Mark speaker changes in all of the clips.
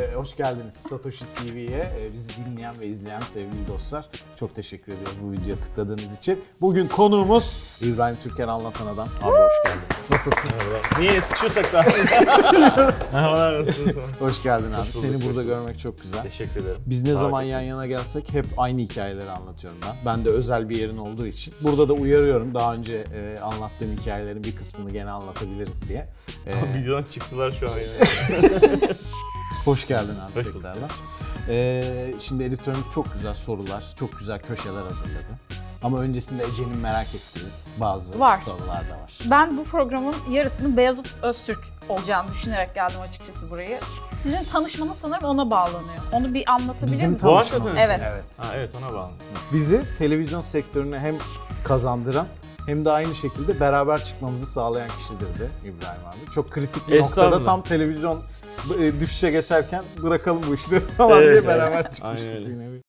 Speaker 1: Ee, hoş geldiniz Satoshi TV'ye. Ee, bizi dinleyen ve izleyen sevgili dostlar. Çok teşekkür ediyoruz bu videoya tıkladığınız için. Bugün konuğumuz İbrahim Türker Anlatan Adam. Abi hoş geldin. Nasılsın?
Speaker 2: Niye sıkışırsak da? Merhabalar nasılsınız?
Speaker 1: Hoş geldin abi.
Speaker 2: bulduk,
Speaker 1: Seni
Speaker 2: hoş
Speaker 1: burada
Speaker 2: bulduk.
Speaker 1: görmek çok güzel.
Speaker 2: Teşekkür ederim.
Speaker 1: Biz ne
Speaker 2: Davet
Speaker 1: zaman
Speaker 2: ettiğiniz
Speaker 1: yan yana gelsek hep aynı hikayeleri anlatıyorum ben. Ben de özel bir yerin olduğu için. Burada da uyarıyorum daha önce e, anlattığım hikayelerin bir kısmını gene anlatabiliriz diye. E,
Speaker 2: için. Videodan çıktılar şu an yine.
Speaker 1: hoş geldin abi
Speaker 2: Hoş bulduk.
Speaker 1: tekrardan. E, şimdi editörümüz çok güzel sorular, çok güzel köşeler hazırladı. Ama öncesinde Ece'nin merak ettiği bazı
Speaker 3: Var.
Speaker 1: sorular da var.
Speaker 3: Ben bu programın yarısının Beyazıt Öztürk olacağını düşünerek geldim açıkçası burayı. Sizin tanışmanız sanırım ona bağlanıyor. Onu bir anlatabilir
Speaker 1: Bizim
Speaker 3: misiniz?
Speaker 2: tanış-
Speaker 1: tanışmamız.
Speaker 3: Evet.
Speaker 1: evet.
Speaker 2: ha evet ona bağlı.
Speaker 1: Bizi televizyon sektörüne hem kazandıran hem de aynı şekilde beraber çıkmamızı sağlayan kişidir de İbrahim abi. Çok kritik bir
Speaker 2: Estağfurullah.
Speaker 1: noktada tam televizyon e, düşüşe geçerken bırakalım bu işleri falan
Speaker 2: Evet,
Speaker 1: diye beraber
Speaker 2: evet.
Speaker 1: çıkmıştık
Speaker 2: Aynen öyle.
Speaker 1: bir nevi.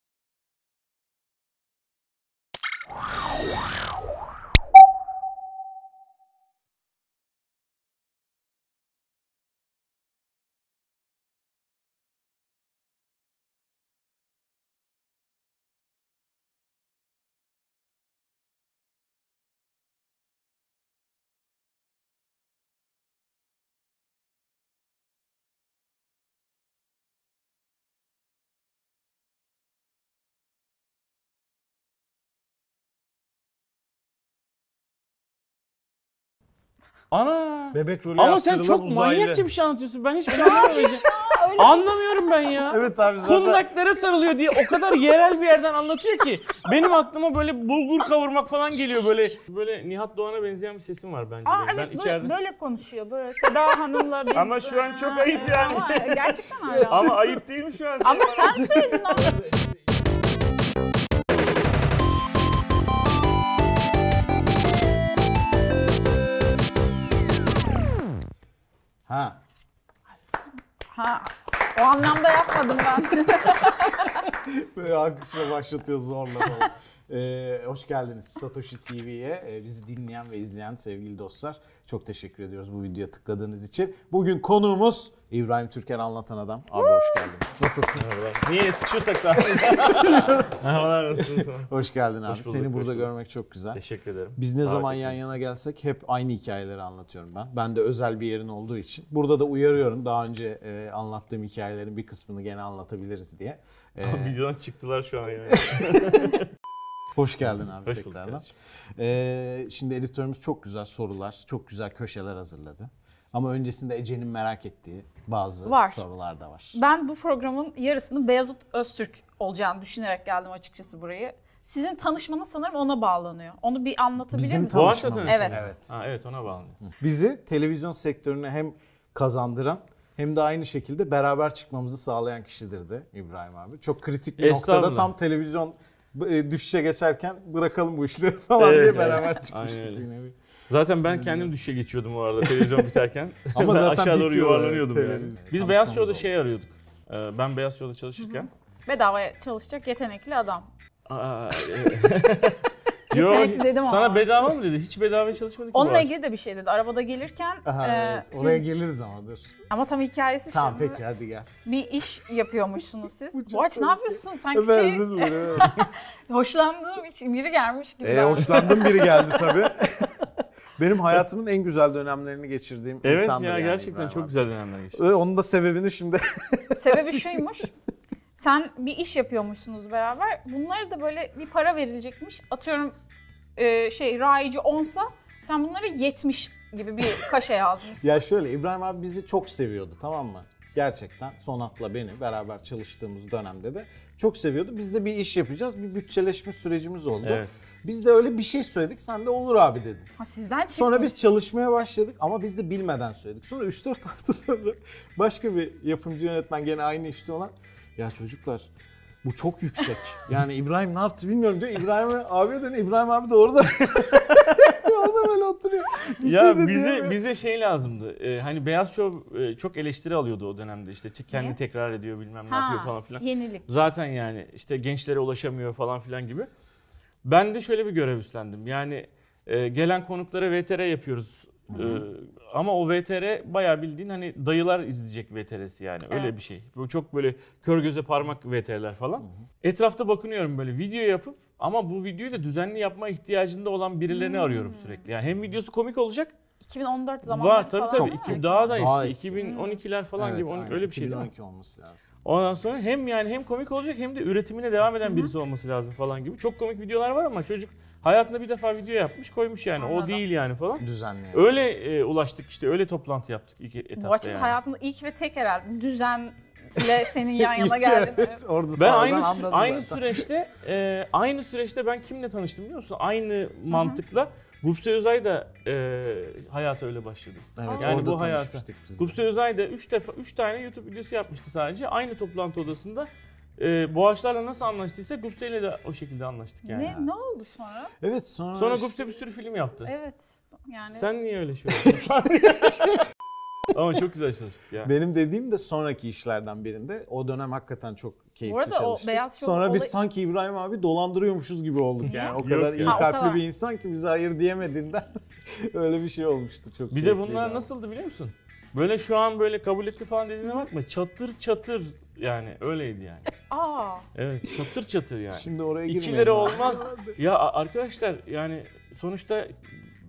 Speaker 2: Ana!
Speaker 1: Bebek rolü
Speaker 2: Ama sen
Speaker 1: yaptırılan
Speaker 2: çok
Speaker 1: uzaylı.
Speaker 2: manyakça bir şey anlatıyorsun. Ben hiçbir şey anlamıyorum. Anlamıyorum ben ya.
Speaker 1: Evet abi zaten.
Speaker 2: Kundaklara sarılıyor diye o kadar yerel bir yerden anlatıyor ki benim aklıma böyle bulgur kavurmak falan geliyor böyle böyle Nihat Doğan'a benzeyen bir sesim var bence.
Speaker 3: Aa,
Speaker 2: benim.
Speaker 3: evet,
Speaker 2: ben
Speaker 3: böyle,
Speaker 2: içeride
Speaker 3: böyle konuşuyor. Böyle Seda Hanım'la biz...
Speaker 2: Ama şu an çok ayıp yani.
Speaker 3: Ama gerçekten öyle.
Speaker 2: ama ayıp değil mi şu an?
Speaker 3: Ama sen söyledin ama.
Speaker 1: Ha.
Speaker 3: Ha, o anlamda yapmadım ben.
Speaker 1: Böyle alkışla başlatıyor zorla falan. Ee, hoş geldiniz Satoshi TV'ye. Ee, bizi dinleyen ve izleyen sevgili dostlar. Çok teşekkür ediyoruz bu videoya tıkladığınız için. Bugün konuğumuz İbrahim Türker Anlatan Adam. Abi hoş geldin. Nasılsın?
Speaker 2: Niye sıkışırsak da? Merhabalar nasılsınız?
Speaker 1: Hoş geldin abi.
Speaker 2: bulduk,
Speaker 1: Seni
Speaker 2: hoş
Speaker 1: burada
Speaker 2: bulduk.
Speaker 1: görmek çok güzel.
Speaker 2: Teşekkür ederim.
Speaker 1: Biz ne
Speaker 2: Davet
Speaker 1: zaman yan
Speaker 2: ettiğiniz
Speaker 1: yana gelsek hep aynı hikayeleri anlatıyorum ben. Ben de özel bir yerin olduğu için. Burada da uyarıyorum daha önce e, anlattığım hikayelerin bir kısmını gene anlatabiliriz diye. Ee,
Speaker 2: için. Videodan çıktılar şu an yine.
Speaker 1: hoş geldin abi
Speaker 2: Hoş bulduk.
Speaker 1: tekrardan.
Speaker 2: kardeşim.
Speaker 1: Ee, şimdi editörümüz çok güzel sorular, çok güzel köşeler hazırladı. Ama öncesinde Ece'nin merak ettiği bazı
Speaker 3: Var.
Speaker 1: sorular da var.
Speaker 3: Ben bu programın yarısının Beyazıt Öztürk olacağını düşünerek geldim açıkçası burayı. Sizin tanışmanız sanırım ona bağlanıyor. Onu bir anlatabilir
Speaker 1: Bizim
Speaker 3: misiniz?
Speaker 1: tanış-
Speaker 2: Doğan
Speaker 1: Tanışmamız.
Speaker 2: Çatı
Speaker 3: Evet.
Speaker 1: Evet.
Speaker 2: Ha, evet ona bağlı.
Speaker 1: Bizi televizyon sektörüne hem kazandıran hem de aynı şekilde beraber çıkmamızı sağlayan kişidir de İbrahim abi. Çok kritik bir noktada
Speaker 2: Estağfurullah.
Speaker 1: tam televizyon e, düşüşe geçerken bırakalım bu işleri falan
Speaker 2: Evet,
Speaker 1: diye beraber
Speaker 2: evet.
Speaker 1: çıkmıştık
Speaker 2: Aynen öyle.
Speaker 1: bir nevi.
Speaker 2: Zaten ben kendim düşe geçiyordum o arada televizyon biterken.
Speaker 1: Ama
Speaker 2: Ben
Speaker 1: zaten
Speaker 2: aşağı doğru
Speaker 1: bitiyor, evet,
Speaker 2: yuvarlanıyordum yani.
Speaker 1: televizyon.
Speaker 2: Biz
Speaker 1: Tanışmamız
Speaker 2: Beyaz Show'da
Speaker 1: oldu.
Speaker 2: şey arıyorduk. Ee, Ben Beyaz Show'da çalışırken.
Speaker 3: Bedavaya çalışacak yetenekli adam.
Speaker 2: Aa, e-
Speaker 3: Yetenekli dedim ama.
Speaker 2: sana bedava mı dedi? Hiç bedava çalışmadık ki bu
Speaker 3: Onunla
Speaker 2: arada.
Speaker 3: ilgili de bir şey dedi. Arabada gelirken
Speaker 1: Aha,
Speaker 3: e,
Speaker 1: evet.
Speaker 3: siz-
Speaker 1: Oraya geliriz ama dur.
Speaker 3: ama tam hikayesi
Speaker 1: Tamam
Speaker 3: şimdi.
Speaker 1: peki hadi gel.
Speaker 3: Bir iş yapıyormuşsunuz siz.
Speaker 1: çok
Speaker 3: Boğaç ne
Speaker 1: komik.
Speaker 3: yapıyorsun? Sanki
Speaker 1: Ben
Speaker 3: şey,
Speaker 1: özür dilerim.
Speaker 3: hoşlandığım için biri gelmiş gibi.
Speaker 2: E,
Speaker 1: Ee,
Speaker 3: davran-
Speaker 1: hoşlandığım biri geldi tabii. Benim hayatımın en güzel dönemlerini geçirdiğim
Speaker 2: Evet
Speaker 1: insandır
Speaker 2: ya
Speaker 1: yani
Speaker 2: gerçekten
Speaker 1: İbrahim
Speaker 2: çok
Speaker 1: abi.
Speaker 2: güzel dönemler geçti.
Speaker 1: Ve onun da sebebini şimdi
Speaker 3: Sebebi şuymuş. Sen bir iş yapıyormuşsunuz beraber. Bunlara da böyle bir para verilecekmiş. Atıyorum e, şey rayici 10'sa sen bunları 70 gibi bir kaşe yazmışsın.
Speaker 1: Ya şöyle İbrahim abi bizi çok seviyordu tamam mı? Gerçekten Sonat'la beni beraber çalıştığımız dönemde de çok seviyordu. Biz de bir iş yapacağız. Bir bütçeleşme sürecimiz oldu.
Speaker 2: Evet.
Speaker 1: Biz de öyle bir şey söyledik. Sen de olur abi dedin.
Speaker 3: ha, sizden çıkmış.
Speaker 1: Sonra biz çalışmaya başladık ama biz de bilmeden söyledik. Sonra 3-4 hafta sonra başka bir yapımcı yönetmen gene aynı işte olan ya çocuklar bu çok yüksek. Yani İbrahim ne yaptı bilmiyorum diyor. İbrahim abiye dönüyor. İbrahim abi de orada orada böyle oturuyor. Bir
Speaker 2: ya
Speaker 1: şey de
Speaker 2: bize
Speaker 1: diyemiyor.
Speaker 2: bize şey lazımdı. Ee, hani Beyaz Show e, çok eleştiri alıyordu o dönemde işte kendi
Speaker 3: Niye?
Speaker 2: tekrar ediyor bilmem ne
Speaker 3: ha,
Speaker 2: yapıyor falan filan.
Speaker 3: yenilik.
Speaker 2: Zaten yani işte gençlere ulaşamıyor falan filan gibi. Ben de şöyle bir görev üstlendim. Yani e, gelen konuklara VTR yapıyoruz Ee, ama o VTR bayağı bildiğin hani dayılar izleyecek VTR'si yani öyle
Speaker 3: Evet.
Speaker 2: bir şey. Böyle çok böyle kör göze parmak VTR'ler falan. Etrafta bakınıyorum böyle video yapıp ama bu videoyu da düzenli yapma ihtiyacında olan birilerini
Speaker 3: Hmm.
Speaker 2: arıyorum sürekli. Yani hem videosu komik olacak.
Speaker 3: 2014 zamanları
Speaker 2: Var tabii
Speaker 3: falan
Speaker 2: tabii.
Speaker 3: değil mi?
Speaker 2: İki- daha da
Speaker 1: Daha
Speaker 2: eski.
Speaker 1: eski.
Speaker 2: 2012'ler falan
Speaker 1: Evet,
Speaker 2: gibi on-
Speaker 1: aynen.
Speaker 2: öyle bir şey değil mi?
Speaker 1: 2012 olması lazım.
Speaker 2: Ondan sonra hem yani hem komik olacak hem de üretimine devam eden birisi olması lazım falan gibi. Çok komik videolar var ama çocuk hayatında bir defa video yapmış koymuş yani. O
Speaker 3: Anladım.
Speaker 2: değil yani falan.
Speaker 1: Düzenli.
Speaker 2: Öyle e, ulaştık işte öyle toplantı yaptık iki etapta
Speaker 3: Bu açıdan
Speaker 2: yani.
Speaker 3: hayatımda ilk ve tek herhalde düzenle senin yan yana
Speaker 1: İlk,
Speaker 3: geldin.
Speaker 1: evet, orada
Speaker 2: Ben
Speaker 1: sonradan
Speaker 2: aynı sü-
Speaker 1: anladım
Speaker 2: aynı
Speaker 1: zaten.
Speaker 2: süreçte e, aynı süreçte ben kimle tanıştım biliyor musun? Aynı mantıkla Gupse Özay da e, hayata öyle başladı.
Speaker 1: Evet,
Speaker 2: Yani
Speaker 1: orada
Speaker 2: bu hayata.
Speaker 1: tanışmıştık biz de.
Speaker 2: Gupse Özay da 3 defa 3 tane YouTube videosu yapmıştı sadece. Aynı toplantı odasında e, Boğaçlarla nasıl anlaştıysa Gupse ile de o şekilde anlaştık yani.
Speaker 3: Ne, ne oldu sonra?
Speaker 1: Evet sonra,
Speaker 2: Sonra Gupse bir sürü film yaptı.
Speaker 3: Evet. Yani
Speaker 2: Sen niye öyle şey oldun? Ama çok güzel çalıştık ya.
Speaker 1: Benim dediğim de sonraki işlerden birinde. O dönem hakikaten çok keyifli
Speaker 3: Bu arada o
Speaker 1: çalıştık.
Speaker 3: beyaz şov
Speaker 1: Sonra biz
Speaker 3: olay-
Speaker 1: sanki İbrahim abi dolandırıyormuşuz gibi olduk yani. O
Speaker 2: Yok
Speaker 1: kadar
Speaker 2: ya.
Speaker 1: iyi
Speaker 3: Ha, o
Speaker 1: kalpli
Speaker 3: kadar.
Speaker 1: bir insan ki bize hayır diyemediğinden öyle bir şey olmuştu. Çok
Speaker 2: Bir de
Speaker 1: keyifliydi
Speaker 2: bunlar
Speaker 1: ama.
Speaker 2: nasıldı biliyor musun? Böyle şu an böyle kabul etti falan dediğine bakma. Çatır çatır yani öyleydi yani.
Speaker 3: aa
Speaker 2: Evet çatır çatır yani.
Speaker 1: Şimdi oraya girmeyelim.
Speaker 2: İkileri
Speaker 1: abi.
Speaker 2: olmaz. Ya a- arkadaşlar yani sonuçta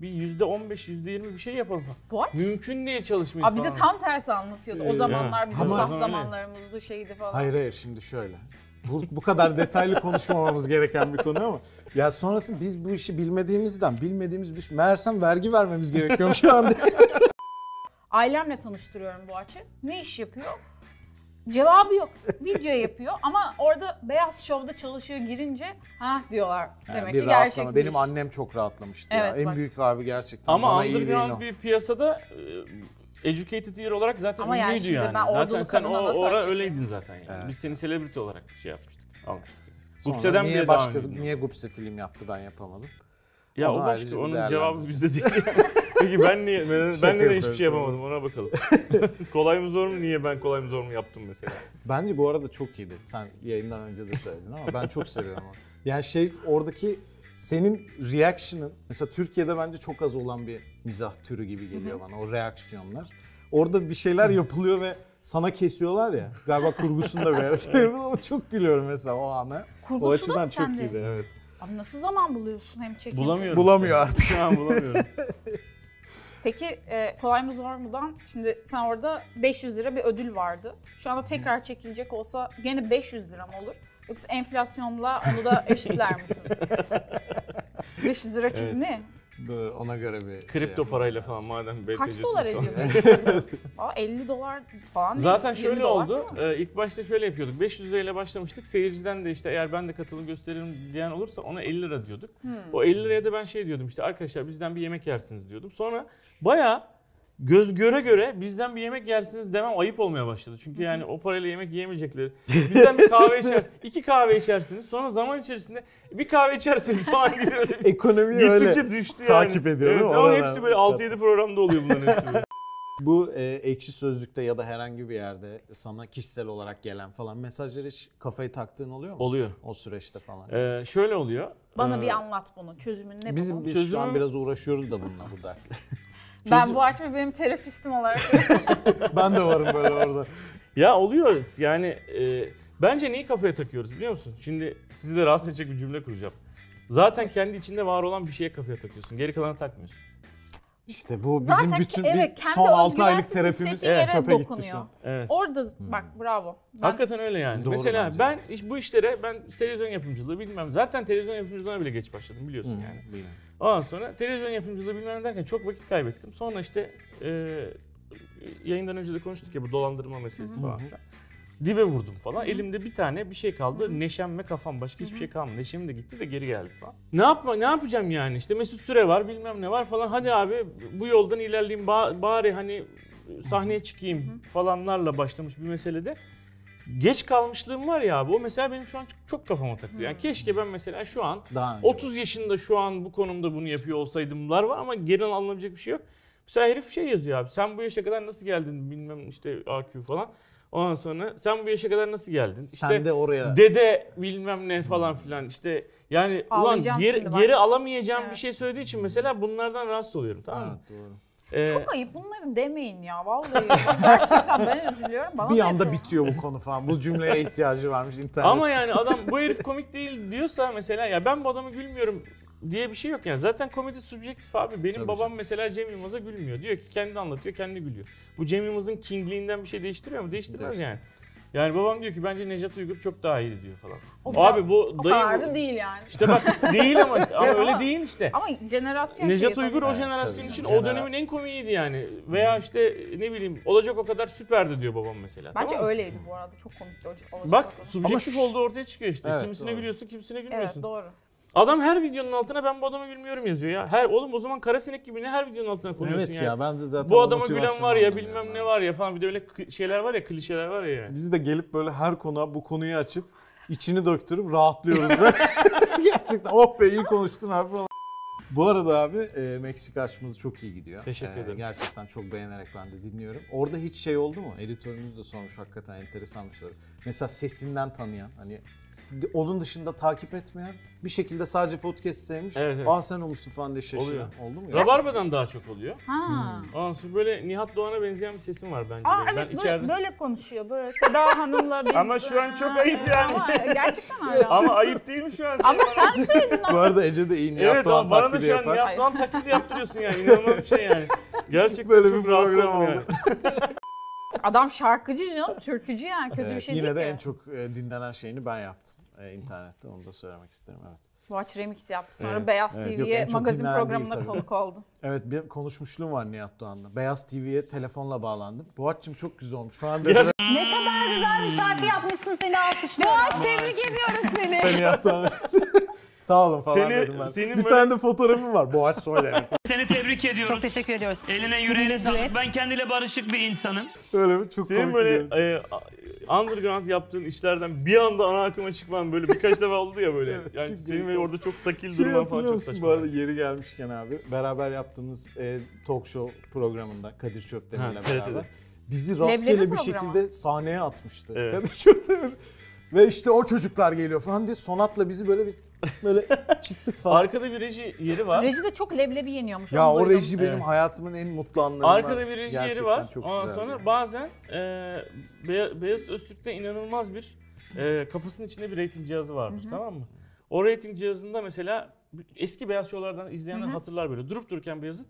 Speaker 2: bir yüzde on beş, yüzde yirmi bir şey yapalım.
Speaker 3: what?
Speaker 2: Mümkün değil çalışmayı
Speaker 3: Aa, bize
Speaker 2: falan.
Speaker 3: tam tersi anlatıyordu.
Speaker 1: Ee,
Speaker 3: O zamanlar
Speaker 2: yani.
Speaker 3: bizim
Speaker 1: Ama-
Speaker 3: saf
Speaker 2: Öyle.
Speaker 3: zamanlarımızdı şeydi falan.
Speaker 1: Hayır hayır şimdi şöyle. Bu, bu kadar detaylı konuşmamamız gereken bir konu ama ya sonrası biz bu işi bilmediğimizden bilmediğimiz bir şey- meğersem vergi vermemiz gerekiyormuş şu anda.
Speaker 3: Ailemle tanıştırıyorum Boğaç'ı. Ne iş yapıyor? Cevabı yok. Video yapıyor ama orada Beyaz Şov'da çalışıyor girince ha diyorlar.
Speaker 1: Yani
Speaker 3: Demek
Speaker 1: bir
Speaker 3: ki
Speaker 1: rahatlama.
Speaker 3: gerçek
Speaker 1: Benim annem çok rahatlamıştı ya.
Speaker 3: Evet,
Speaker 1: En
Speaker 3: bak.
Speaker 1: büyük abi gerçekten
Speaker 2: Ama
Speaker 1: bana iyiliğin
Speaker 2: underground
Speaker 1: o.
Speaker 2: bir piyasada e, educated year olarak zaten
Speaker 3: Ama yani
Speaker 2: ünlüydü
Speaker 3: şimdi
Speaker 2: yani.
Speaker 3: ben
Speaker 2: zaten
Speaker 3: ordulu
Speaker 2: sen o
Speaker 3: kadına nasıl
Speaker 2: ora
Speaker 3: açıklayayım?
Speaker 2: öyleydin zaten yani.
Speaker 1: Evet.
Speaker 2: Biz seni celebrity olarak şey yapmıştık, almıştık.
Speaker 1: Sonra
Speaker 2: Gupse'den bile
Speaker 1: niye
Speaker 2: daha
Speaker 1: başka,
Speaker 2: ünlüydün.
Speaker 1: niye Gupse film yaptı ben yapamadım.
Speaker 2: Ya
Speaker 1: Onu
Speaker 2: o
Speaker 1: ayrıca bir
Speaker 2: başka, onun
Speaker 1: değerlendireceğiz.
Speaker 2: cevabı bizde değil. Peki ben niye, ben,
Speaker 1: Şaka
Speaker 2: ben de hiçbir
Speaker 1: yapıyorum.
Speaker 2: şey yapamadım ona bakalım. kolay mı zor mu niye ben kolay mı zor mu yaptım mesela.
Speaker 1: Bence bu arada çok iyiydi. Sen yayından önce de söyledin ama ben çok seviyorum onu. Yani şey oradaki senin reaction'ın mesela Türkiye'de bence çok az olan bir mizah türü gibi geliyor bana o reaksiyonlar. Orada bir şeyler yapılıyor ve sana kesiyorlar ya. Galiba kurgusunu da böyle. o çok gülüyorum mesela o ana. O
Speaker 3: Kurgusu da
Speaker 1: açıdan
Speaker 3: mı
Speaker 1: çok
Speaker 3: sende?
Speaker 1: iyiydi. Evet.
Speaker 3: Abi nasıl zaman buluyorsun hem çekim?
Speaker 2: Bulamıyorum.
Speaker 1: Bulamıyor artık.
Speaker 2: Şu an bulamıyorum.
Speaker 3: Peki e, kolay mı zor mu'dan şimdi sen orada 500 lira bir ödül vardı. Şu anda tekrar çekilecek olsa gene 500 lira mı olur? Yoksa enflasyonla onu da eşitler misin? 500 lira çünkü
Speaker 2: Evet.
Speaker 3: ne?
Speaker 1: Böyle ona göre bir şey
Speaker 2: Kripto
Speaker 1: yapmak
Speaker 2: parayla
Speaker 1: lazım.
Speaker 2: falan madem BTC
Speaker 3: Kaç dolar
Speaker 2: tutsan.
Speaker 3: ediyor? Aa 50 dolar falan. değil,
Speaker 2: Zaten
Speaker 3: 20
Speaker 2: şöyle
Speaker 3: dolar
Speaker 2: oldu.
Speaker 3: değil mi?
Speaker 2: Ee, ilk başta şöyle yapıyorduk. 500 lirayla başlamıştık. Seyirciden de işte eğer ben de katılım gösteririm diyen olursa ona 50 lira diyorduk.
Speaker 3: Hmm.
Speaker 2: O 50 liraya da ben şey diyordum işte arkadaşlar bizden bir yemek yersiniz diyordum. Sonra baya göz göre göre bizden bir yemek yersiniz demem ayıp olmaya başladı. Çünkü yani o parayla yemek yiyemeyecekleri. Bizden bir kahve içer, iki kahve içersiniz. Sonra zaman içerisinde bir kahve içersiniz falan gibi öyle bir
Speaker 1: Ekonomi öyle.
Speaker 2: Gittikçe düştü yani.
Speaker 1: takip ediyor
Speaker 2: Evet,
Speaker 1: değil mi?
Speaker 2: Ama
Speaker 1: Oradan-
Speaker 2: hepsi böyle 6-7 programda oluyor bunların hepsi.
Speaker 1: Bu e, ekşi sözlükte ya da herhangi bir yerde sana kişisel olarak gelen falan mesajları hiç kafayı taktığın oluyor mu?
Speaker 2: oluyor.
Speaker 1: O süreçte falan.
Speaker 2: Ee, şöyle oluyor.
Speaker 3: Bana
Speaker 2: Ee,
Speaker 3: bir anlat bunu. Çözümün ne
Speaker 1: Bizim
Speaker 3: bunun?
Speaker 1: biz şu
Speaker 2: Çözümü-
Speaker 1: an biraz uğraşıyoruz da bununla bu dertle.
Speaker 3: Ben
Speaker 2: çözüm-
Speaker 3: bu açma benim terapistim olarak.
Speaker 1: ben de varım böyle orada.
Speaker 2: Ya oluyoruz yani e, bence neyi kafaya takıyoruz biliyor musun? Şimdi sizi de rahatsız edecek bir cümle kuracağım. Zaten kendi içinde var olan bir şeye kafaya takıyorsun. Geri kalanı takmıyorsun.
Speaker 1: İşte bu bizim
Speaker 3: Zaten
Speaker 1: bütün
Speaker 3: evet,
Speaker 1: bir
Speaker 3: kendi
Speaker 1: son 6 aylık
Speaker 3: özgüvensiz
Speaker 1: terapimiz Hmm.
Speaker 3: hissettiği yere
Speaker 1: çöpe gitti şu
Speaker 3: dokunuyor.
Speaker 1: an.
Speaker 2: Evet.
Speaker 3: Orada bak bravo. Ben-
Speaker 2: Hakikaten öyle yani.
Speaker 1: Doğru
Speaker 2: Mesela
Speaker 1: bence.
Speaker 2: ben iş, bu işlere ben televizyon yapımcılığı bilmem. Zaten televizyon yapımcılığına bile geç başladım biliyorsun yani.
Speaker 1: Yani.
Speaker 2: Ondan sonra televizyon yapımcılığı bilmem ne derken çok vakit kaybettim. Sonra işte e, yayından önce de konuştuk ya bu dolandırma meselesi falan. filan. Dibe vurdum falan. Elimde bir tane bir şey kaldı. Neşem ve kafam başka hiçbir şey kalmadı. Neşem de gitti de geri geldi falan. Ne yapma ne yapacağım yani? İşte Mesut Süre var, bilmem ne var falan. Hadi abi bu yoldan ilerleyeyim ba- bari hani sahneye çıkayım falanlarla başlamış bir meselede. Geç kalmışlığım var ya abi. O mesela benim şu an çok- çok kafama takıyor. Yani keşke ben mesela şu an
Speaker 1: Daha önce.
Speaker 2: 30 yaşında şu an bu konumda bunu yapıyor olsaydımlar var ama geri alınabilecek bir şey yok. Mesela herif şey yazıyor abi sen bu yaşa kadar nasıl geldin bilmem işte AQ falan. Ondan sonra sen bu yaşa kadar nasıl geldin? İşte
Speaker 1: Sen de oraya
Speaker 2: dede bilmem ne falan filan işte yani ulan
Speaker 3: Ağlayacağım
Speaker 2: geri,
Speaker 3: şimdi bak.
Speaker 2: geri alamayacağım bir
Speaker 3: Evet.
Speaker 2: şey söylediği için mesela bunlardan rahatsız oluyorum tamam mı?
Speaker 1: Evet, doğru.
Speaker 2: Ee,
Speaker 3: Çok ayıp bunları demeyin ya vallahi. Gerçekten ben üzülüyorum. Bana
Speaker 1: bir
Speaker 3: da
Speaker 1: anda
Speaker 3: yapıyorlar.
Speaker 1: bitiyor bu konu falan. Bu cümleye ihtiyacı varmış internet.
Speaker 2: Ama yani adam bu herif komik değil diyorsa mesela ya ben bu adamı gülmüyorum diye bir şey yok yani. Zaten komedi subjektif abi. Benim
Speaker 1: Tabii
Speaker 2: babam
Speaker 1: canım.
Speaker 2: mesela Cem Yılmaz'a gülmüyor. Diyor ki kendi anlatıyor, kendi gülüyor. Bu Cem Yılmaz'ın kingliğinden bir şey değiştiriyor mu? Değiştirmez
Speaker 1: Değiştir-
Speaker 2: yani. Yani babam diyor ki bence Necat Uygur çok daha iyiydi diyor falan.
Speaker 3: O
Speaker 2: abi bu
Speaker 3: O
Speaker 2: dayı
Speaker 3: kadar da değil yani.
Speaker 2: işte bak değil ama işte, ama
Speaker 3: Ama-
Speaker 2: öyle değil işte.
Speaker 3: Ama şey jenerasyon şeyi
Speaker 2: Necat
Speaker 3: tabii.
Speaker 2: Uygur o
Speaker 1: Evet,
Speaker 2: jenerasyon
Speaker 1: tabii
Speaker 2: için
Speaker 1: canım.
Speaker 2: o dönemin en komiğiydi yani. Veya işte ne bileyim olacak o kadar süperdi diyor babam mesela.
Speaker 3: Bence
Speaker 2: tamam mı?
Speaker 3: öyleydi bu arada. Çok komikti. o- o-
Speaker 2: Bak
Speaker 3: o-
Speaker 2: subjektif
Speaker 1: Ama şu-
Speaker 2: olduğu ortaya çıkıyor işte.
Speaker 1: Evet,
Speaker 2: kimisine
Speaker 1: doğru.
Speaker 2: gülüyorsun, kimisine gülmüyorsun.
Speaker 3: Evet doğru.
Speaker 2: Adam her videonun altına ben bu adama gülmüyorum yazıyor ya. Her oğlum o zaman karasinek gibi ne her videonun altına koyuyorsun
Speaker 1: Evet
Speaker 2: yani.
Speaker 1: ya ben de zaten
Speaker 2: bu
Speaker 1: o
Speaker 2: adama gülen
Speaker 1: motivasyonu
Speaker 2: var ya
Speaker 1: anlamıyorum
Speaker 2: bilmem
Speaker 1: ben.
Speaker 2: ne var ya falan bir de öyle kı- şeyler var ya klişeler var ya. yani.
Speaker 1: Biz de gelip böyle her konuya bu konuyu açıp içini döktürüp rahatlıyoruz da. Gerçekten oh be iyi konuştun abi falan. Bu arada abi e, Meksika açımız çok iyi gidiyor.
Speaker 2: Teşekkür
Speaker 1: E,
Speaker 2: ederim.
Speaker 1: Gerçekten çok beğenerek ben de dinliyorum. Orada hiç şey oldu mu? Editörümüz de sormuş hakikaten enteresan bir soru. Mesela sesinden tanıyan hani de- onun dışında takip etmeyen bir şekilde sadece podcast sevmiş.
Speaker 2: Evet, evet.
Speaker 1: Aa sen o musun falan diye şaşıran
Speaker 2: Oluyor.
Speaker 1: oldu mu?
Speaker 2: Rabarba'dan daha çok oluyor.
Speaker 1: Hmm.
Speaker 3: Ha.
Speaker 2: Aa, su böyle Nihat Doğan'a benzeyen bir sesim var bence.
Speaker 3: Aa
Speaker 2: benim. ben
Speaker 3: evet hani böyle,
Speaker 2: içeride...
Speaker 3: böyle konuşuyor. Böyle Seda Hanım'la biz.
Speaker 2: Ama şu an çok ayıp yani.
Speaker 3: Ama gerçekten öyle. ama,
Speaker 2: Ama ayıp değil mi şu an?
Speaker 3: sen söyledin
Speaker 1: Bu
Speaker 3: onu.
Speaker 1: arada Ece de iyi niyetli
Speaker 2: Evet
Speaker 1: olan
Speaker 2: ama bana da
Speaker 1: taklidi
Speaker 2: şu an
Speaker 1: yapar.
Speaker 2: Nihat Doğan taklidi yaptırıyorsun yani inanılmaz bir şey yani. Gerçekten
Speaker 1: Böyle
Speaker 2: çok
Speaker 1: bir
Speaker 2: rahatsız
Speaker 1: program
Speaker 2: oldum
Speaker 1: oldu.
Speaker 2: yani.
Speaker 3: Adam şarkıcı canım, türkücü yani. Kötü bir
Speaker 1: Evet,
Speaker 3: şey
Speaker 1: Ee, yine
Speaker 3: değil
Speaker 1: de
Speaker 3: ki.
Speaker 1: en çok e, dinlenen şeyini ben yaptım e, internette. Onu da söylemek isterim. Evet.
Speaker 3: Watch Remix yaptı. Sonra
Speaker 1: Evet,
Speaker 3: Beyaz
Speaker 1: evet, yok,
Speaker 3: TV'ye
Speaker 1: en çok
Speaker 3: magazin
Speaker 1: dinlenen
Speaker 3: programına
Speaker 1: değil tabii.
Speaker 3: konuk oldu.
Speaker 1: Evet bir konuşmuşluğum var Nihat Doğan'la. Beyaz TV'ye telefonla bağlandım. Boğaç'cığım çok güzel olmuş falan dedi.
Speaker 2: Gerçekten.
Speaker 4: Ne kadar güzel bir şarkı yapmışsın seni alkışlıyorum. Boğaç tebrik ediyorum seni.
Speaker 1: Nihat Doğan. Sağ olun falan
Speaker 2: Seni-
Speaker 1: dedim ben.
Speaker 2: senin
Speaker 1: bir
Speaker 2: böyle-
Speaker 1: tane de fotoğrafım var. Boğaç Soyler.
Speaker 5: Seni tebrik
Speaker 4: Çok
Speaker 5: ediyoruz.
Speaker 4: teşekkür ediyoruz.
Speaker 5: Eline yüreğine sağlık.
Speaker 4: Seninle düet.
Speaker 5: Ben kendiyle barışık bir insanım.
Speaker 1: Öyle bir çok
Speaker 2: Senin
Speaker 1: komik
Speaker 2: böyle
Speaker 1: bir
Speaker 2: e, a- underground yaptığın işlerden bir anda ana akıma çıkman böyle birkaç defa oldu ya böyle.
Speaker 1: Evet,
Speaker 2: yani
Speaker 1: çünkü-
Speaker 2: senin böyle orada çok sakil
Speaker 1: şey
Speaker 2: durman falan
Speaker 1: hatırlıyor
Speaker 2: çok
Speaker 1: musun
Speaker 2: saçma.
Speaker 1: bu arada yeri gelmişken abi? Beraber yaptığımız e, talk show programında Kadir Çöptemir'le
Speaker 2: Ha,
Speaker 1: beraber.
Speaker 2: TRT'de.
Speaker 1: Bizi rastgele
Speaker 3: Leblebi
Speaker 1: bir
Speaker 3: programı.
Speaker 1: şekilde sahneye atmıştı
Speaker 2: Evet.
Speaker 1: Kadir Çöptemir. Ve işte o çocuklar geliyor falan diye Sonat'la bizi böyle bir böyle çıktık falan.
Speaker 2: Arkada bir reji yeri var.
Speaker 3: Rejide çok leblebi yeniyormuş.
Speaker 1: ya
Speaker 3: onu
Speaker 1: o
Speaker 3: duydum.
Speaker 1: reji benim
Speaker 2: Evet.
Speaker 1: hayatımın en mutlu anlarından.
Speaker 2: Arkada bir reji yeri
Speaker 1: Gerçekten
Speaker 2: var.
Speaker 1: çok
Speaker 2: Ondan
Speaker 1: güzeldi.
Speaker 2: sonra bazen e, Be- Beyazıt Öztürk'te inanılmaz bir e, kafasının içinde bir rating cihazı vardır tamam mı? O rating cihazında mesela eski beyaz şovlardan izleyenler hatırlar böyle. Durup dururken Beyazıt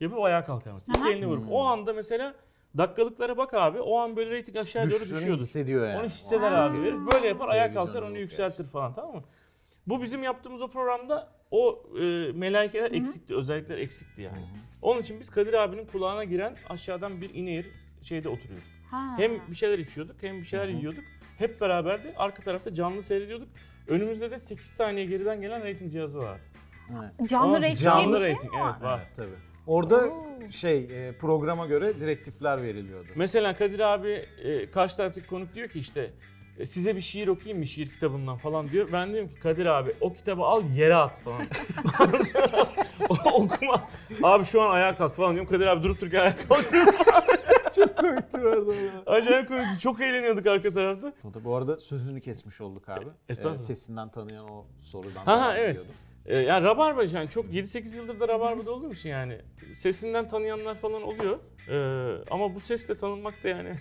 Speaker 2: yapıp ayağa kalkar mesela. İki elini vurup.
Speaker 1: Hmm.
Speaker 2: O anda mesela dakikalıklara bak abi. O an böyle rating aşağı doğru
Speaker 1: Düştüğünü
Speaker 2: düşüyordur.
Speaker 1: hissediyor yani.
Speaker 2: Onu hisseder
Speaker 1: Çok
Speaker 2: abi
Speaker 1: iyi.
Speaker 2: herif. Böyle yapar ayağa kalkar
Speaker 1: Televizyonculuk
Speaker 2: onu yükseltir falan tamam mı? Bu bizim yaptığımız o programda o e, melaikeler eksikti. Özellikler eksikti yani. Onun için biz Kadir abinin kulağına giren aşağıdan bir ineğir şeyde oturuyorduk.
Speaker 3: Ha.
Speaker 2: Hem bir şeyler içiyorduk hem bir şeyler yiyorduk. Hep beraberdi. Arka tarafta canlı seyrediyorduk. Önümüzde de 8 saniye geriden gelen rating cihazı vardı.
Speaker 3: canlı
Speaker 2: Ama
Speaker 3: rating
Speaker 1: canlı
Speaker 3: diye bir şey
Speaker 2: rating,
Speaker 3: mi var?
Speaker 2: evet. Var.
Speaker 1: Evet tabii. Orada şey e, programa göre direktifler veriliyordu.
Speaker 2: Mesela Kadir abi e, karşı taraftaki konuk diyor ki işte e, size bir şiir okuyayım mı şiir kitabından falan diyor. Ben diyorum ki Kadir abi o kitabı al yere at falan. O- Okuma. Abi şu an ayağa kalk falan diyorum. Kadir abi durup dururken ayağa kalkıyor.
Speaker 1: Komikti orada ya.
Speaker 2: Acayip komikti. Çok eğleniyorduk arka tarafta.
Speaker 1: O da Bu arada sözünü kesmiş olduk abi.
Speaker 2: E, estağfurullah.
Speaker 1: Ee, sesinden tanıyan o sorudan.
Speaker 2: Ha,
Speaker 1: devam
Speaker 2: evet.
Speaker 1: ediyordum.
Speaker 2: E, yani Rabarba yani çok 7-8 yıldır da Rabarba'da olduğum için yani sesinden tanıyanlar falan oluyor. E, ama bu sesle tanınmak da yani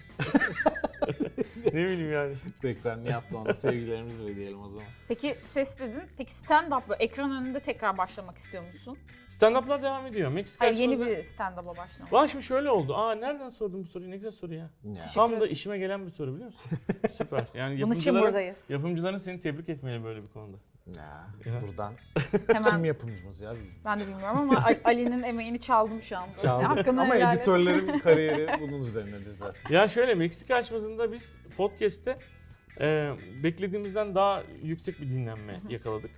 Speaker 2: ne bileyim yani.
Speaker 1: Tekrar Nihat Doğan'a sevgilerimizle diyelim o zaman.
Speaker 3: Peki ses dedin. Peki stand-up böyle ekran önünde tekrar başlamak istiyor musun?
Speaker 2: Stand-up'lar devam ediyor. Meksika
Speaker 3: Hayır yeni
Speaker 2: açmazı-
Speaker 3: bir stand-up'a başlamak.
Speaker 2: Lan şimdi şöyle oldu. Aa nereden sordun bu soruyu? Ne güzel soru ya.
Speaker 1: Ya.
Speaker 2: Tam da işime gelen bir soru biliyor musun? Süper. Yani
Speaker 3: Bunun için
Speaker 2: yapımcıların,
Speaker 3: buradayız.
Speaker 2: yapımcıların seni tebrik etmeli böyle bir konuda.
Speaker 1: Ya,
Speaker 2: Ya.
Speaker 1: Buradan kim
Speaker 3: Hemen
Speaker 1: yapımcımız ya bizim?
Speaker 3: ben de bilmiyorum ama A- Ali'nin emeğini çaldım şu an.
Speaker 1: Çaldı.
Speaker 3: Hakkını
Speaker 1: Ama
Speaker 3: helal et.
Speaker 1: editörlerin kariyeri bunun üzerinedir zaten.
Speaker 2: Ya şöyle Meksika açmazında biz podcast'te e, beklediğimizden daha yüksek bir dinlenme yakaladık.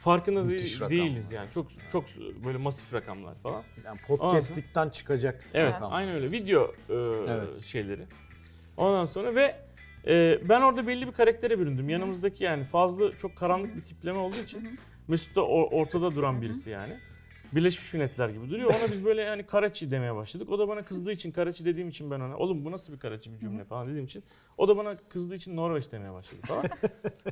Speaker 2: Farkında
Speaker 1: Müthiş
Speaker 2: değil-
Speaker 1: rakamlar.
Speaker 2: değiliz yani. Çok çok böyle masif rakamlar falan.
Speaker 1: Yani podcastlikten çıkacak.
Speaker 2: Evet,
Speaker 1: rakam.
Speaker 2: aynı öyle. Video e,
Speaker 1: Evet.
Speaker 2: şeyleri. Ondan sonra ve e, ben orada belli bir karaktere büründüm. Yanımızdaki yani fazla çok karanlık bir tipleme olduğu için Mesut da o- ortada duran birisi yani. Birleşmiş Milletler gibi duruyor. Ona biz böyle yani Karaçi demeye başladık. O da bana kızdığı için Karaçi dediğim için ben ona oğlum bu nasıl bir Karaçi bir cümle falan dediğim için o da bana kızdığı için Norveç demeye başladı falan.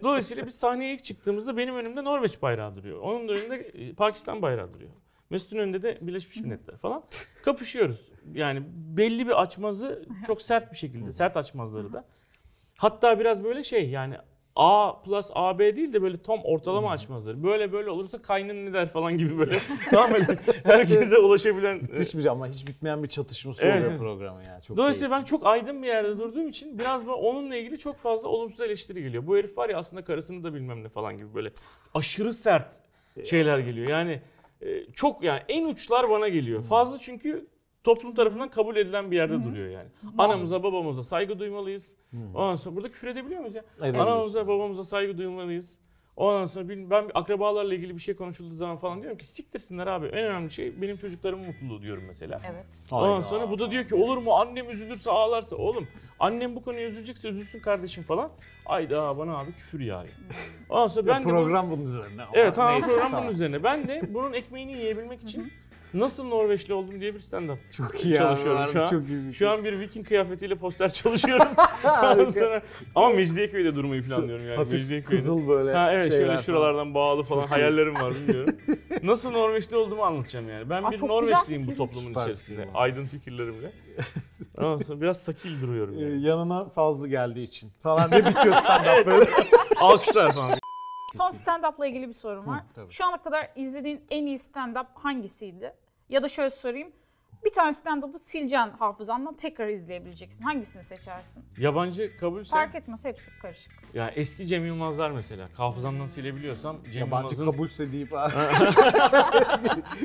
Speaker 2: Dolayısıyla biz sahneye ilk çıktığımızda benim önümde Norveç bayrağı duruyor. Onun da önünde e, Pakistan bayrağı duruyor. Mesut'un önünde de Birleşmiş Milletler falan. Kapışıyoruz. Yani belli bir açmazı çok sert bir şekilde. Sert açmazları da. Hatta biraz böyle şey yani A plus AB değil de böyle tam ortalama açmazları. Böyle böyle olursa kaynın ne der falan gibi böyle. Tamamen herkese ulaşabilen. e,
Speaker 1: Müthiş bir ama hiç bitmeyen bir çatışması
Speaker 2: Evet,
Speaker 1: oluyor
Speaker 2: evet.
Speaker 1: programı ya. Çok
Speaker 2: Dolayısıyla ben çok aydın bir yerde durduğum için biraz da onunla ilgili çok fazla olumsuz eleştiri geliyor. Bu herif var ya aslında karısını da bilmem ne falan gibi böyle aşırı sert şeyler geliyor. Yani e, çok yani en uçlar bana geliyor. Fazla çünkü toplum tarafından kabul edilen bir yerde duruyor yani. Anamıza babamıza saygı duymalıyız. Ondan sonra burada küfür edebiliyor muyuz ya?
Speaker 1: Evet.
Speaker 2: Anamıza babamıza saygı duymalıyız. Ondan sonra bil- ben akrabalarla ilgili bir şey konuşulduğu zaman falan diyorum ki siktirsinler abi. En önemli şey benim çocuklarımın mutluluğu diyorum mesela.
Speaker 3: Evet.
Speaker 2: Ondan sonra bu da diyor ki olur mu annem üzülürse ağlarsa oğlum annem bu konuya üzülecekse üzülsün kardeşim falan. Ayda bana abi küfür yani. Ondan sonra ben de bunun-
Speaker 1: program bunun üzerine. ama
Speaker 2: Evet tamam
Speaker 1: neyse,
Speaker 2: program bunun
Speaker 1: tamam.
Speaker 2: üzerine. Ben de bunun ekmeğini yiyebilmek için nasıl Norveçli oldum diye bir stand up
Speaker 1: Çok iyi
Speaker 2: çalışıyorum
Speaker 1: abi,
Speaker 2: şu an.
Speaker 1: Çok iyi bir şey.
Speaker 2: Şu an bir Viking kıyafetiyle poster çalışıyoruz. Ondan sonra, ama Mecidiyeköy'de durmayı planlıyorum yani.
Speaker 1: Hafif
Speaker 2: Mecidiyeköy'de.
Speaker 1: kızıl böyle
Speaker 2: Ha evet
Speaker 1: şeyler
Speaker 2: şöyle
Speaker 1: falan.
Speaker 2: şuralardan bağlı falan hayallerim var bilmiyorum. Nasıl Norveçli olduğumu anlatacağım yani. Ben
Speaker 3: Aa,
Speaker 2: bir
Speaker 3: çok
Speaker 2: Norveçliyim
Speaker 3: güzel
Speaker 2: bu
Speaker 3: fikir.
Speaker 2: toplumun
Speaker 1: Süper
Speaker 2: içerisinde.
Speaker 1: fikir bu.
Speaker 2: Aydın fikirlerimle. Ondan sonra biraz sakil duruyorum
Speaker 1: Ee,
Speaker 2: yani.
Speaker 1: yanına fazla geldiği için falan diye bitiyor stand up böyle.
Speaker 2: Alkışlar falan.
Speaker 3: Son stand-up'la ilgili bir sorum var.
Speaker 1: tabii.
Speaker 3: Şu ana kadar izlediğin en iyi stand-up hangisiydi? Ya da şöyle sorayım. Bir tane stand-up'ı sileceksin hafızandan tekrar izleyebileceksin. Hangisini seçersin?
Speaker 2: Yabancı kabulsem.
Speaker 3: Fark etmez hepsi karışık.
Speaker 2: Ya eski Cem Yılmazlar mesela. Hafızamdan silebiliyorsam Cem
Speaker 1: Yabancı
Speaker 2: Yılmaz'ın...
Speaker 1: kabulse deyip abi.